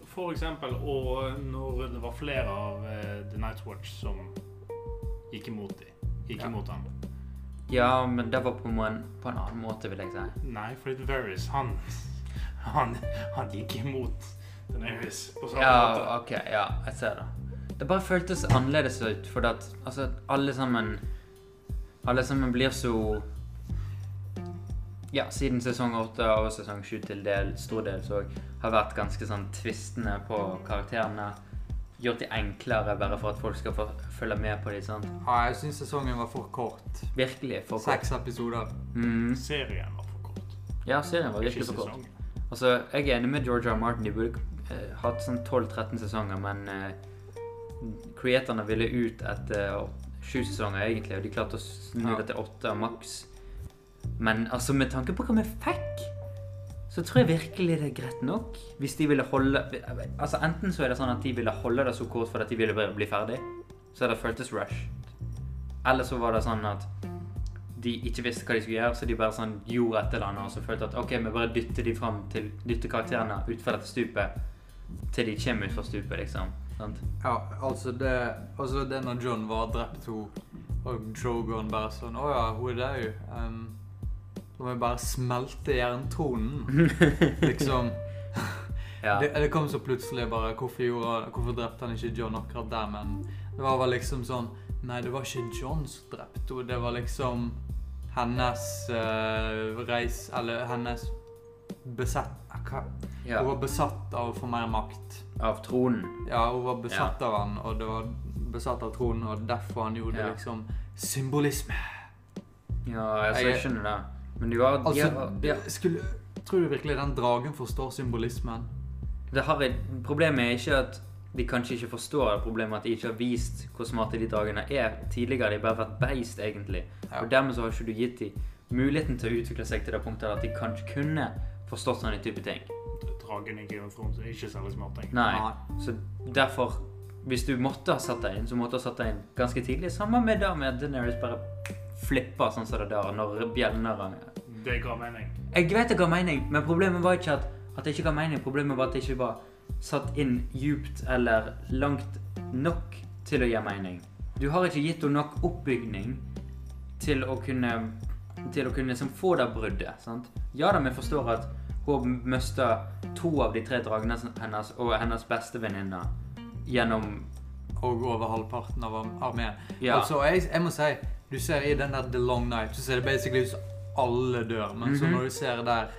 S3: for eksempel, og når det var flere av eh, The Night Watch som gikk imot de. Gikk
S2: Ja.
S3: imot han.
S2: Ja, men det var på en, på en annen måte, vil jeg si.
S3: Nei, fordi Varys, han, han, han gikk imot Daenerys på samme måte.
S2: Ja, ok, ja, jeg ser det. Det bare føltes annerledes ut, fordi at altså, at alle sammen Alle sammen blir så Ja, siden sesong 8 og sesong 7 til del, stor del, så har vært ganske sånn tvistende på karakterene. Gjort de enklere bare for at folk skal få følge med på de, sant.
S1: Ja, jeg syns sesongen var for kort.
S2: Virkelig for kort.
S1: Seks episoder.
S2: Mm.
S3: Serien var for kort.
S2: Ja, serien var
S3: Ikke
S2: virkelig for kort.
S3: sesongen.
S2: Altså, jeg er enig med George R. R. Martin. De burde eh, hatt sånn 12-13 sesonger, men eh, creatorene ville ut etter eh, sju sesonger, egentlig, og de klarte å snu
S1: Ja.
S2: det til åtte maks. Men altså, med tanke på hva vi fikk, så tror jeg virkelig det er greit nok. Hvis de ville holde Altså, enten så er det sånn at de ville holde det så kort fordi at de ville bare bli ferdig, så det føltes rushed. Eller så var det sånn at de ikke visste hva de skulle gjøre, så de bare sånn gjorde et eller annet og så følte at ok, vi bare dytter de fram til dytter karakterene utfor dette stupet til de kommer utfor stupet, liksom.
S1: <laughs>
S2: Sant?
S1: Ja, altså det, altså det når John var drept henne, og Drogon bare sånn Å ja, hun er død. Um, så må vi bare smelte jerntronen. Liksom.
S2: Ja.
S1: Det, det kom så plutselig bare hvorfor, gjorde, han- hvorfor drepte han ikke John akkurat der? Men det var vel liksom sånn Nei, det var ikke John som drepte henne. Det var liksom hennes eh, reis Eller hennes besett... Hva?
S2: ja.
S1: Hun var besatt av å få mer makt.
S2: Av tronen.
S1: Ja, hun var besatt av han, og det var besatt av tronen, og derfor han gjorde
S2: Ja.
S1: liksom symbolisme.
S2: Ja, altså, jeg
S1: Jeg-
S2: skjønner det. Men du har de
S1: Altså,
S2: har-
S1: ja, skulle, tror du virkelig den dragen forstår symbolismen?
S2: Det har jeg, problemet er ikke at de kanskje ikke forstår det. Problemet er at de ikke har vist hvor smarte de dragene er tidligere. De har bare vært beist, egentlig.
S1: Ja.
S2: Og dermed så har ikke du gitt dem muligheten til å utvikle seg til det punktet at de kanskje kunne forstått sånne type ting.
S3: Dragen i Game of Thrones er ikke særlig smart. tenker jeg.
S2: Nei. Så derfor, hvis du måtte ha satt deg inn, så måtte du ha satt deg inn ganske tidlig. Samme med det med at Daenerys bare flipper sånn som det der når bjellene ranger.
S3: Det ga mening.
S2: Jeg vet det ga mening, men problemet var ikke at, at det ikke ga mening. Problemet var at det ikke var satt inn djupt eller langt nok til å gi mening. Du har ikke gitt henne nok oppbygning til å kunne, til å kunne liksom få det bruddet. sant? Ja da, vi forstår at hun mista to av de tre dragene hennes og hennes beste venninne gjennom
S1: Og over halvparten av arm- armeen.
S2: ja,
S1: Altså, jeg, jeg må si, du ser i den der The Long Night, så ser det basically ut som alle dør, men så
S2: Mhm.
S1: når du ser der
S2: Når
S1: når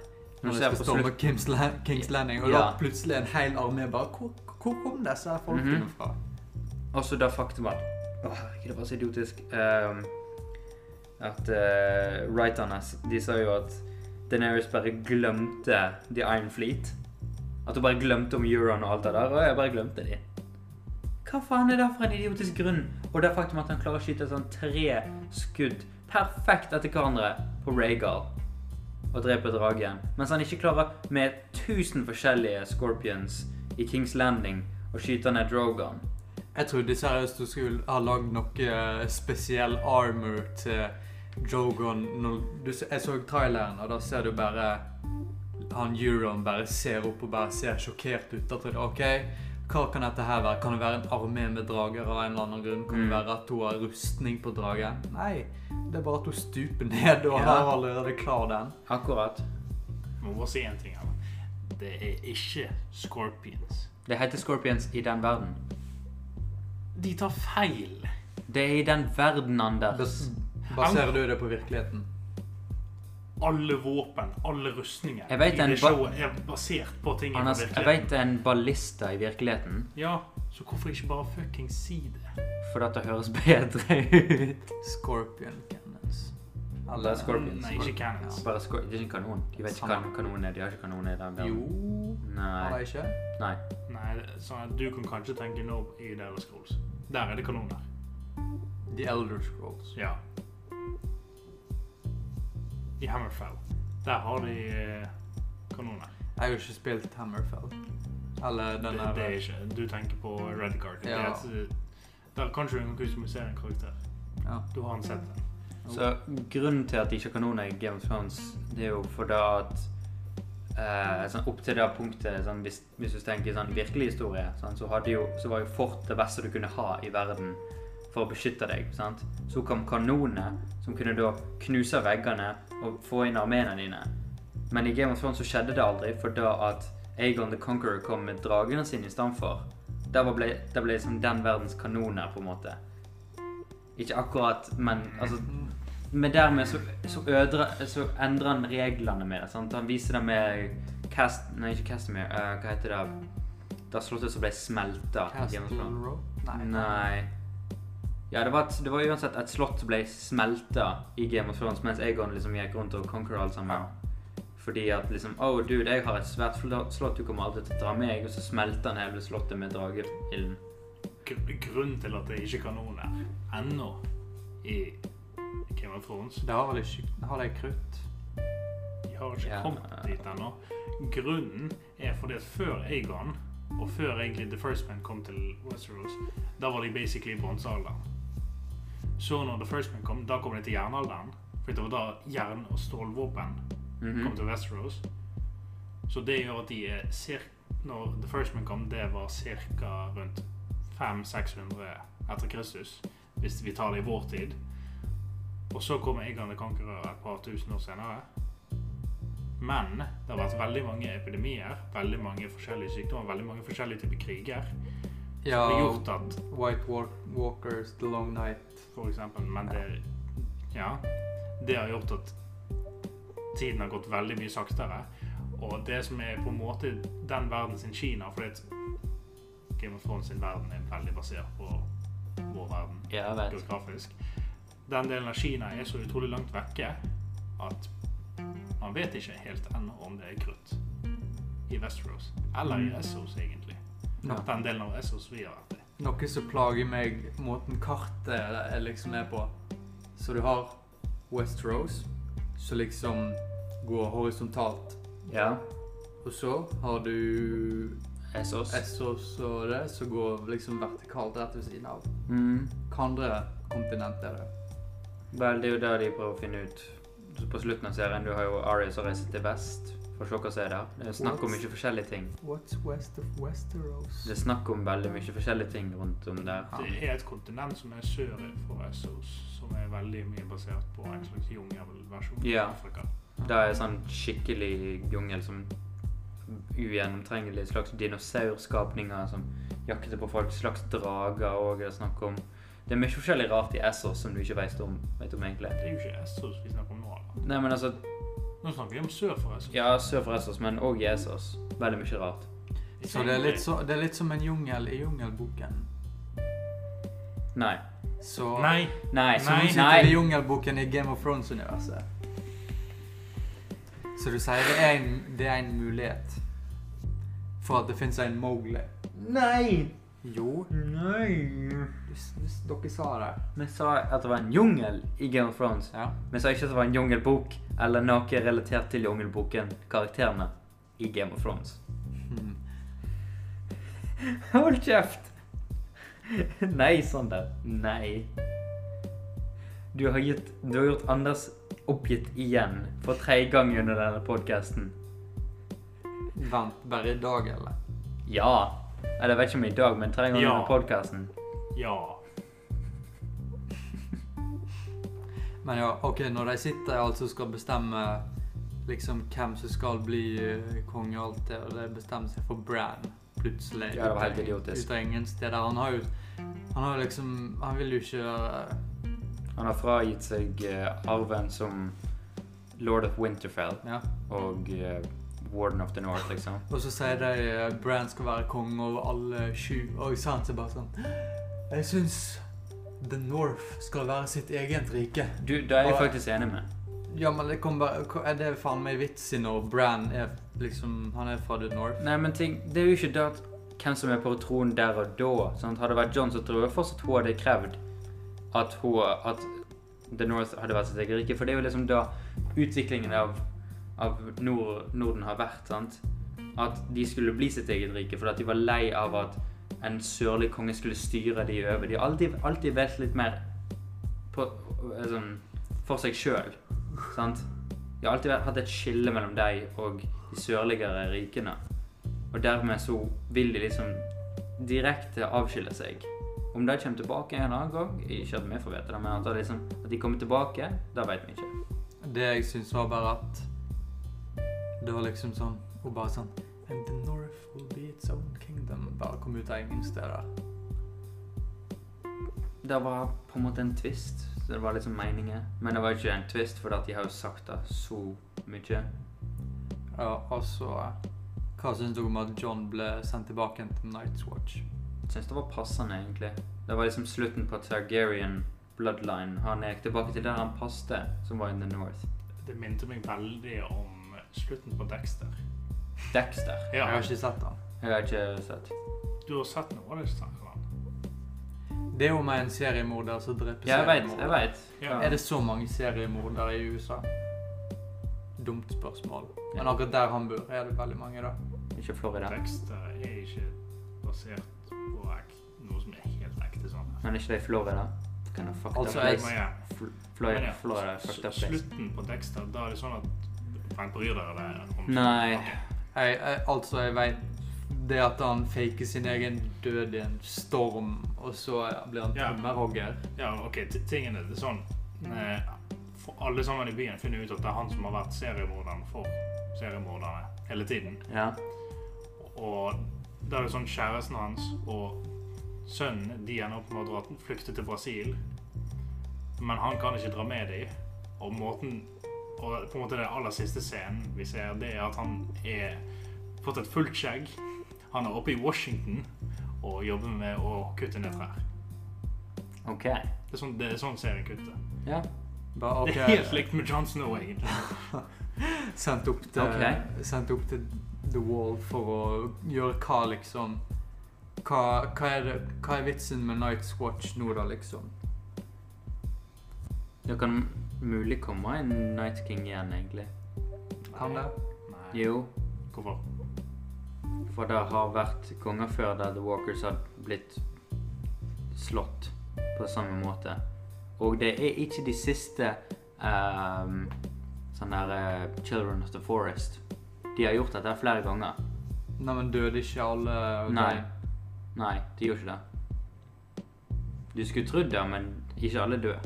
S2: du
S1: det
S2: ser
S1: skal
S2: på
S1: storme Kings, La- Kings Landing, og
S2: Ja.
S1: da plutselig en hel armé bare Hvor, hvor kom disse her folkene
S2: Mhm.
S1: fra?
S2: Også det faktum at Å, herregud, det var så idiotisk. ehm, at uh, writerne de sa jo at Daenerys bare glemte The Iron Fleet. At hun bare glemte om Euron og alt det der. Og jeg bare glemte de. Hva faen er det for en idiotisk grunn? Og det faktum at han klarer å skyte sånn tre skudd perfekt etter hverandre på Rhaegal og drepe dragen, mens han ikke klarer med tusen forskjellige Scorpions i Kings Landing å skyte ned Drogon.
S1: Jeg trodde seriøst du skulle ha lagd noe spesiell armor til Jogon. Når du, s- jeg så traileren, og da ser du bare han Euron bare ser opp og bare ser sjokkert ut. Da tror jeg, ok, hva kan dette her være? Kan det være en armé med drager av en eller annen grunn? Kan det
S2: Mm.
S1: være at hun har rustning på dragen? Nei, det er bare at hun stuper ned og
S2: Ja.
S1: har allerede klar den.
S2: Akkurat.
S3: Må bare si en ting her. da. Det er ikke Scorpions.
S2: Det heter Scorpions i den verden.
S3: De tar feil.
S2: Det er i den verden, Anders.
S1: Bas baserer du det på
S2: <laughs>
S1: virkeligheten?
S3: Alle våpen, alle rustninger
S2: Jeg vet
S3: i
S2: en
S3: det
S2: ba-
S3: showet er basert på ting i
S2: Anders, jeg
S3: virkeligheten.
S2: vet det er en ballista i virkeligheten,
S3: Ja, så hvorfor ikke bare fucking si det?
S2: for dette høres bedre ut.
S1: Scorpion cannons.
S2: Eller Scorpions.
S3: Nei, ikke cannons.
S2: Bare skor det er ikke en kanon. De vet ikke hva en kanon er. De har ikke kanon i den verden.
S1: Jo Har
S2: Nei.
S1: de ikke?
S2: Nei.
S3: Nei, det- sånn at du kan kanskje tenke nå i Dallas Scrolls. Der er det kanoner.
S1: The Elder Scrolls.
S3: Ja. I Hammerfell. Der har de eh, kanoner.
S1: Jeg har jo ikke spilt Hammerfell. Eller den
S3: det,
S1: der
S3: det er ikke Du tenker på Red Card. Det
S1: Ja.
S3: er et, der kan ikke du kustomisere en karakter.
S1: ja.
S3: Du har en sett den.
S2: Så grunnen til at de ikke har kanoner i Game of Thrones, det er jo fordi at eh, sånn Opp til det punktet, sånn, hvis, hvis du tenker sånn virkelig historie, sånn, så, hadde jo, så var jo fort det beste du kunne ha i verden for å beskytte deg. Sant? Så kom kanonene, som kunne da knuse veggene og få inn armeene dine. Men i Game of Thrones så skjedde det aldri, for da at Aegon the Conqueror kom med dragene sine istedenfor. Det ble, det ble liksom den verdens kanoner, på en måte. Ikke akkurat, men altså
S1: Mm.
S2: men dermed så, så, ødre, så endrer han reglene med det. sant? Han viser det med cast... Nei, ikke Castamere. eh, hva heter det? Da slottet som ble smelta. i Game of
S1: Castle
S2: Thrones.
S1: Rock?
S2: Nei. Ja, det var, et, det var uansett et slott som ble smelta i Game of Thrones, mens Aegon liksom gikk rundt og conquered alt sammen. Fordi at liksom Oh, dude, jeg har et svært fl- slott, du kommer aldri til å dra meg. Og så smelter han hele slottet med drageilden.
S3: Gr- Grunnen til at det ikke er kanoner ennå i Game of Thrones
S1: Det har vel ikke Har de krutt?
S3: De har ikke
S2: Ja.
S3: kommet dit ennå. Grunnen er fordi at før Aegon, og før egentlig The First Man kom til Westeros, da var de basically i bronsealderen. Så når The First Man kom, da kom de til jernalderen. For det var da jern- og stålvåpen
S2: Mhm. Mm.
S3: kom til Westeros. Så det gjør at de er cirka Når The First Man kom, det var ca. rundt 500-600 etter Kristus, hvis vi tar det i vår tid. Og så kom Egan the Conqueror et par tusen år senere. Men det har vært veldig mange epidemier, veldig mange forskjellige sykdommer, veldig mange forskjellige typer kriger.
S1: Ja,
S3: Det har gjort at
S1: White Walk Walkers, The Long Night
S3: for eksempel, men det Ja. Det har gjort at tiden har gått veldig mye saktere. Og det som er på en måte den verden sin Kina For det Game of Thrones sin verden er veldig basert på vår verden
S2: Ja, jeg vet.
S3: geografisk. Den delen av Kina er så utrolig langt vekke at man vet ikke helt ennå om det er krutt i Westeros. Eller i Essos, egentlig.
S1: Ja.
S3: Den delen av Essos vi har vært i.
S1: Noe som plager meg, måten kartet er liksom er på. Så du har Westeros, som liksom går horisontalt.
S2: Ja.
S1: Og så har du
S2: Essos.
S1: Essos og det, som går liksom vertikalt rett ved siden av.
S2: Mm.
S1: Hva andre kontinent er det?
S2: Vel, det er jo der de prøver å finne ut. Så På slutten av serien du har jo Arya som reiser til vest for å se hva som er der. Det er snakk om mye forskjellige ting.
S1: What's west of Westeros?
S2: Det er snakk om veldig mye forskjellige ting rundt om der.
S3: Det er et kontinent som er sør for Essos, som er veldig mye basert på en slags jungelversjon
S2: Ja.
S3: av Afrika.
S2: Det er sånn skikkelig jungel som ugjennomtrengelig slags dinosaurskapninger som jakter på folk, slags drager òg er det snakk om. Det er mye forskjellig rart i Essos som du ikke vet om, vet om egentlig.
S3: Det er jo ikke Essos vi snakker om nå. Eller?
S2: Nei, men altså
S3: Nå snakker vi om sør for Essos.
S2: Ja, sør for Essos, men òg i Essos. Veldig mye rart.
S1: Så det er litt, så, det er litt som en jungel i jungelboken.
S2: Nei.
S1: Så,
S3: Nei,
S2: Nei.
S1: så nå
S3: nei.
S1: sitter det i jungelboken i Game of Thrones-universet. Så du sier det er en, det er en mulighet for at det fins en Mowgli.
S2: Nei!
S1: Jo,
S2: Nei.
S1: du, s- du, s- dere sa det.
S2: Vi sa at det var en jungel i Game of Thrones.
S1: Ja.
S2: Vi sa ikke at det var en jungelbok eller noe relatert til jungelboken, karakterene i Game of Thrones.
S1: Hmm.
S2: <laughs> Hold kjeft! <laughs> Nei, Sander. Nei. Du har, gitt, du har gjort Anders oppgitt igjen for tredje gang under denne podkasten.
S1: Vent, bare i dag, eller?
S2: Ja. Eller jeg vet ikke om i dag, men tredje gang
S3: Ja.
S2: under podkasten.
S3: Ja.
S1: Men ja, ok, når de sitter altså skal bestemme liksom hvem som skal bli eh, konge og alt det, og de bestemmer seg for Bran plutselig.
S2: Ja, det var helt
S1: Ut av-
S2: idiotisk.
S1: Ut av ingen steder. Han har jo han har liksom Han vil jo ikke eh,
S2: Han har fragitt seg eh, arven som lord of Winterfell
S1: Ja.
S2: og eh, Warden of the North, liksom.
S1: Og så sier de eh, Bran skal være konge over alle sju, og så er han så bare sånn Jeg syns The North skal være sitt eget rike.
S2: Du, det er jeg
S1: Og-
S2: faktisk enig med.
S1: Ja, men det kommer bare Er det faen meg vits i når Bran er liksom Han er fra The North?
S2: Nei, men ting, det er jo ikke det at hvem som er på tronen der og da. Sant? Hadde det vært John som tror jeg fortsatt hun hadde krevd at, hun, at The North hadde vært sitt eget rike. For det er jo liksom da utviklingen av, av Nord, Norden har vært. sant? At de skulle bli sitt eget rike fordi at de var lei av at en sørlig konge skulle styre de over. De har alltid, alltid vært litt mer på, liksom, for seg sjøl. Sant? De har alltid vært- hatt et skille mellom deg og de sørligere rikene. Og dermed så vil de liksom direkte avskille seg. Om de kommer tilbake en annen gang, ikke at vi får vite det, men at, det liksom, at de kommer tilbake, det vet vi ikke.
S1: Det jeg syns var bare at Det var liksom sånn Hun bare sånn And the North will be its own kingdom. Bare kom ut av ingen steder.
S2: Det var på en måte en twist, så det var liksom meningen. Men det var ikke en twist, for at de har jo sagt det så mye.
S1: Ja, og så eh, Hva syns dere om at John ble sendt tilbake igjen til Night's Watch?
S2: Jeg synes det var passende, egentlig. Det var liksom slutten på Targaryen bloodline. Han gikk tilbake til der han passte, som var in the north.
S3: Det minte meg veldig om slutten på Dexter.
S2: Dexter.
S1: Jeg
S3: Ja.
S1: har ikke sett han.
S2: Jeg har ikke sett.
S3: Du har sett noe av det, snakker han.
S1: Det er jo med en seriemorder som dreper
S2: Ja, jeg vet, jeg vet.
S3: Ja.
S1: Er det så mange seriemordere i USA? Dumt spørsmål. Men
S2: Ja.
S1: akkurat der han bor, er det veldig mange, da.
S2: Ikke Florida.
S3: Dexter er ikke basert på ek- noe som er helt ekte. sånn.
S2: Men er ikke det i Florida? Kind of fucked
S1: Altså,
S2: up
S1: jeg-
S2: place.
S3: Men ja,
S2: Fl-
S3: men
S2: Florida,
S3: ja,
S2: Florida
S3: s-
S2: fucked up place.
S3: Slutten på Dexter, da er det sånn at Fan, bryr dere dere om
S2: Nei.
S3: Ok.
S1: Jeg, jeg, altså, jeg vet det at han faker sin egen død i en storm, og så blir han
S3: Ja.
S1: tømmerhogger.
S3: Ja, ok, t- tingen er det er sånn
S1: Mm.
S3: eh, for Alle sammen i byen finner ut at det er han som har vært seriemorderen for seriemorderne hele tiden.
S2: Ja.
S3: Og da er det sånn kjæresten hans og sønnen de ender opp med å dra- flykte til Brasil. Men han kan ikke dra med dem. Og måten og på en måte den aller siste scenen vi ser, det er at han er fått et fullt skjegg. Han er oppe i Washington og jobber med å kutte ned trær.
S2: Ok.
S3: Det er sånn, det er sånn serien kutter.
S2: Ja.
S1: Bare,
S3: <laughs> Det er helt likt med Jon Snow, egentlig.
S1: sendt opp til
S2: Ok.
S1: sendt opp til The Wall for å gjøre hva liksom hva, hva, er det, hva er vitsen med Night's Watch nå da liksom
S2: Det kan mulig komme en Night King igjen, egentlig.
S1: kan det?
S3: Nei.
S2: Jo,
S3: Hvorfor?
S2: for det har vært konger før der The Walkers har blitt slått på samme måte. Og det er ikke de siste um, sånne der eh, Children of the Forest. De har gjort dette flere ganger.
S1: Nei, men døde ikke alle
S2: Nei. Nei, de gjør ikke det. Du skulle trodd det, men ikke alle dør.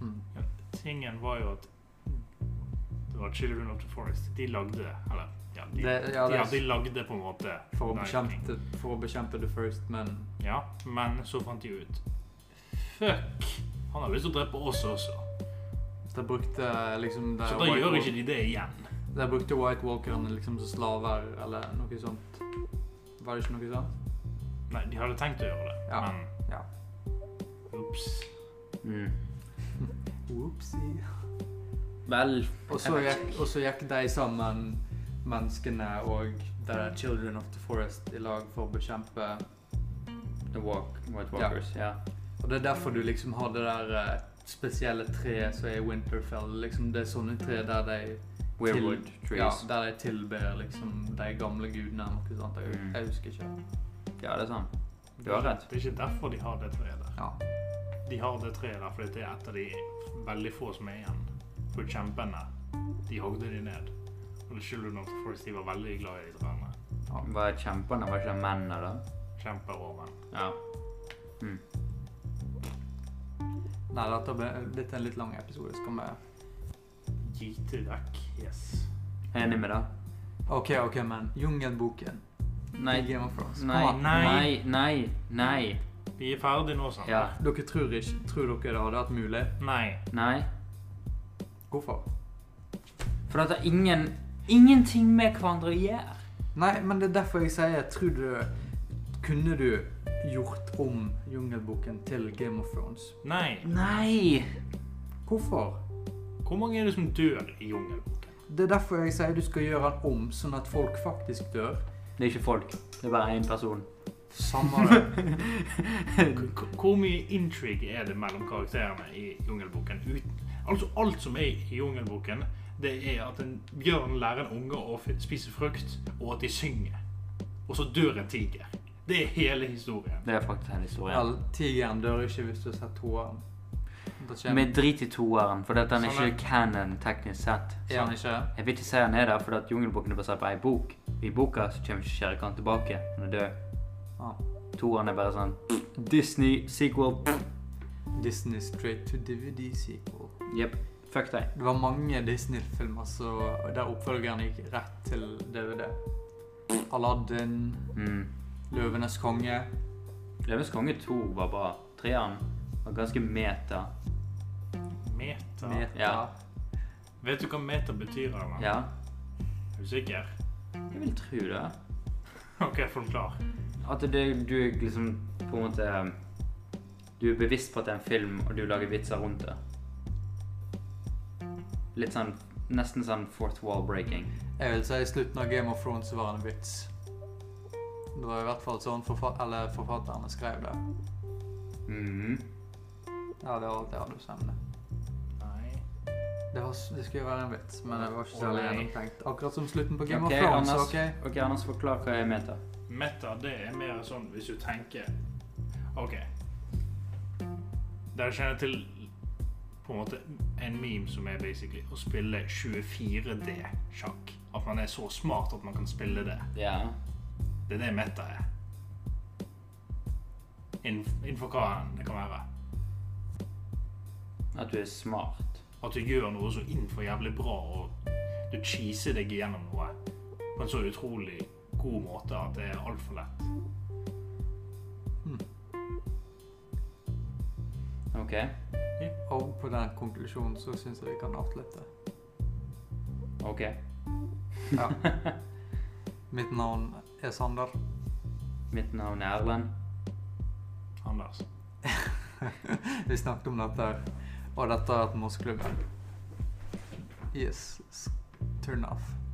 S1: Hmm.
S3: Tingen var jo at det var Children of the Forest. De lagde Eller, ja, de,
S1: Det- ja,
S3: de,
S1: det-
S3: ja, de lagde på en måte
S1: For, å
S3: Night King.
S1: bekjempe, for å bekjempe The First Men
S3: Ja, men så fant de ut Fuck! Han har lyst til å drepe oss også.
S1: de brukte liksom de
S3: Så da
S1: White
S3: gjør
S1: Wal-
S3: ikke de det igjen.
S1: De brukte White Walkerne liksom som slaver eller noe sånt Var det ikke noe sånt?
S3: Nei, de hadde tenkt å gjøre det,
S1: Ja,
S3: men
S1: ja.
S3: Ups.
S2: Mm.
S1: Whoopsie
S2: Vel
S1: <laughs> Og så gikk, og så gikk de sammen, menneskene og The Children of the Forest, i lag for å bekjempe
S2: The walk, White Walkers. Ja.
S1: Og det er derfor du liksom har det der eh, spesielle treet som er Winterfell. Liksom, det er sånne tre der de,
S2: Weirwood
S1: ja,
S2: Trees. Ja.
S1: der de tilber liksom, de gamle gudene. eller noe sånt. Jeg,
S2: Mm.
S1: jeg husker ikke.
S2: det er sånn. Du har rett.
S3: Det er ikke derfor de har det treet der.
S1: Ja.
S3: De har det treet der fordi det er et av de veldig få som er igjen. For kjempene, de hogde de ned. Og det skylder nok for folk de var veldig glad i de trærne.
S2: Var kjempene var ikke mennene, da?
S3: Kjemper over menn.
S2: Ja.
S1: Nei, dette ble blitt en litt lang episode. Skal vi
S3: Gite vekk. Yes.
S2: Enig med det.
S1: OK, ok, men Jungelboken
S2: Nei.
S1: i Game of Thrones.
S2: Nei.
S1: Kom an.
S2: Nei. Nei. Nei.
S3: Vi er ferdig nå, sant?
S2: Ja.
S1: Dere tror, ikke, tror dere det hadde vært mulig?
S3: Nei.
S2: Nei.
S1: Hvorfor?
S2: For dette har ingen Ingenting med hverandre å gjøre.
S1: Nei, men det er derfor jeg sier Tror du Kunne du gjort om Jungelboken til Game of Thrones?
S3: Nei.
S2: Nei!
S1: Hvorfor?
S3: Hvor mange er det som dør i jungelboken?
S1: Det er derfor jeg sier du skal gjøre den om, sånn at folk faktisk dør.
S2: Det er ikke folk. Det er bare én person.
S1: <laughs> Samme det.
S3: K- k- Hvor mye intrigue er det mellom karakterene i jungelboken? Uten- Altså, alt som er i jungelboken, det er at en bjørn lærer en unge å f- spise frukt, og at de synger. Og så dør en tiger. Det er hele historien.
S2: Det er faktisk en historie.
S1: Vel, tigeren dør ikke hvis du har sett toeren. Da
S2: Vi
S1: kommer
S2: driter i toeren, for at den er
S3: Sånn er-
S2: ikke canon teknisk sett.
S1: Er han ikke?
S2: Jeg vil ikke si han er der, for at Jungelboken er basert på ei bok. I boka så kommer ikke Shere Khan tilbake. Han er død.
S1: Ah.
S2: Toeren er bare sånn Disney sequel.
S1: Disney Straight to DVD sequel.
S2: Jepp. Fuck deg.
S1: Det var mange Disney-filmer så- der oppfølgeren gikk rett til DVD. Aladdin,
S2: Mm.
S1: Løvenes konge.
S2: Løvens konge 2 var bra. Treeren var ganske meta.
S3: Meta.
S1: Meta.
S2: Ja.
S3: Vet du hva meta betyr? Anna?
S2: Ja.
S3: Er du sikker?
S2: Jeg vil tro det.
S3: OK, forklar.
S2: At det, du er liksom på en måte Du er bevisst på at det er en film, og du lager vitser rundt det. Litt sånn Nesten sånn fourth wall breaking.
S1: Jeg vil si i slutten av Game of Thrones var det en vits. Det var i hvert fall sånn forfa eller forfatterne skrev det.
S2: Mhm.
S1: Ja, det var alt jeg hadde å si om det.
S3: Nei.
S1: Det, var, s- det skulle jo være en vits, men det var ikke
S3: Å,
S1: særlig
S3: nei.
S1: gjennomtenkt. Akkurat som slutten på Game
S2: Ok,
S1: of Thrones.
S2: Anders.
S1: ok?
S2: Ok, Anders, forklar hva jeg mente.
S3: Meta, det er mer sånn hvis du tenker OK. Dere kjenner til på en måte en meme som er basically å spille 24D-sjakk. At man er så smart at man kan spille det.
S2: Ja.
S3: Det er det meta er. Innenf- Innenfor hva enn det kan være.
S2: At du er smart.
S3: At du gjør noe så innenfor jævlig bra, og du cheeser deg gjennom noe på en så utrolig god måte at det er altfor lett.
S2: Ok.
S1: Og på den konklusjonen så syns jeg vi kan avslutte.
S2: Ok.
S1: Ja. Mitt navn er Sander.
S2: Mitt navn er Erlend.
S3: Anders.
S1: Vi snakket om dette, her, og dette har vært Mossklubben. Yes. s- Turn off.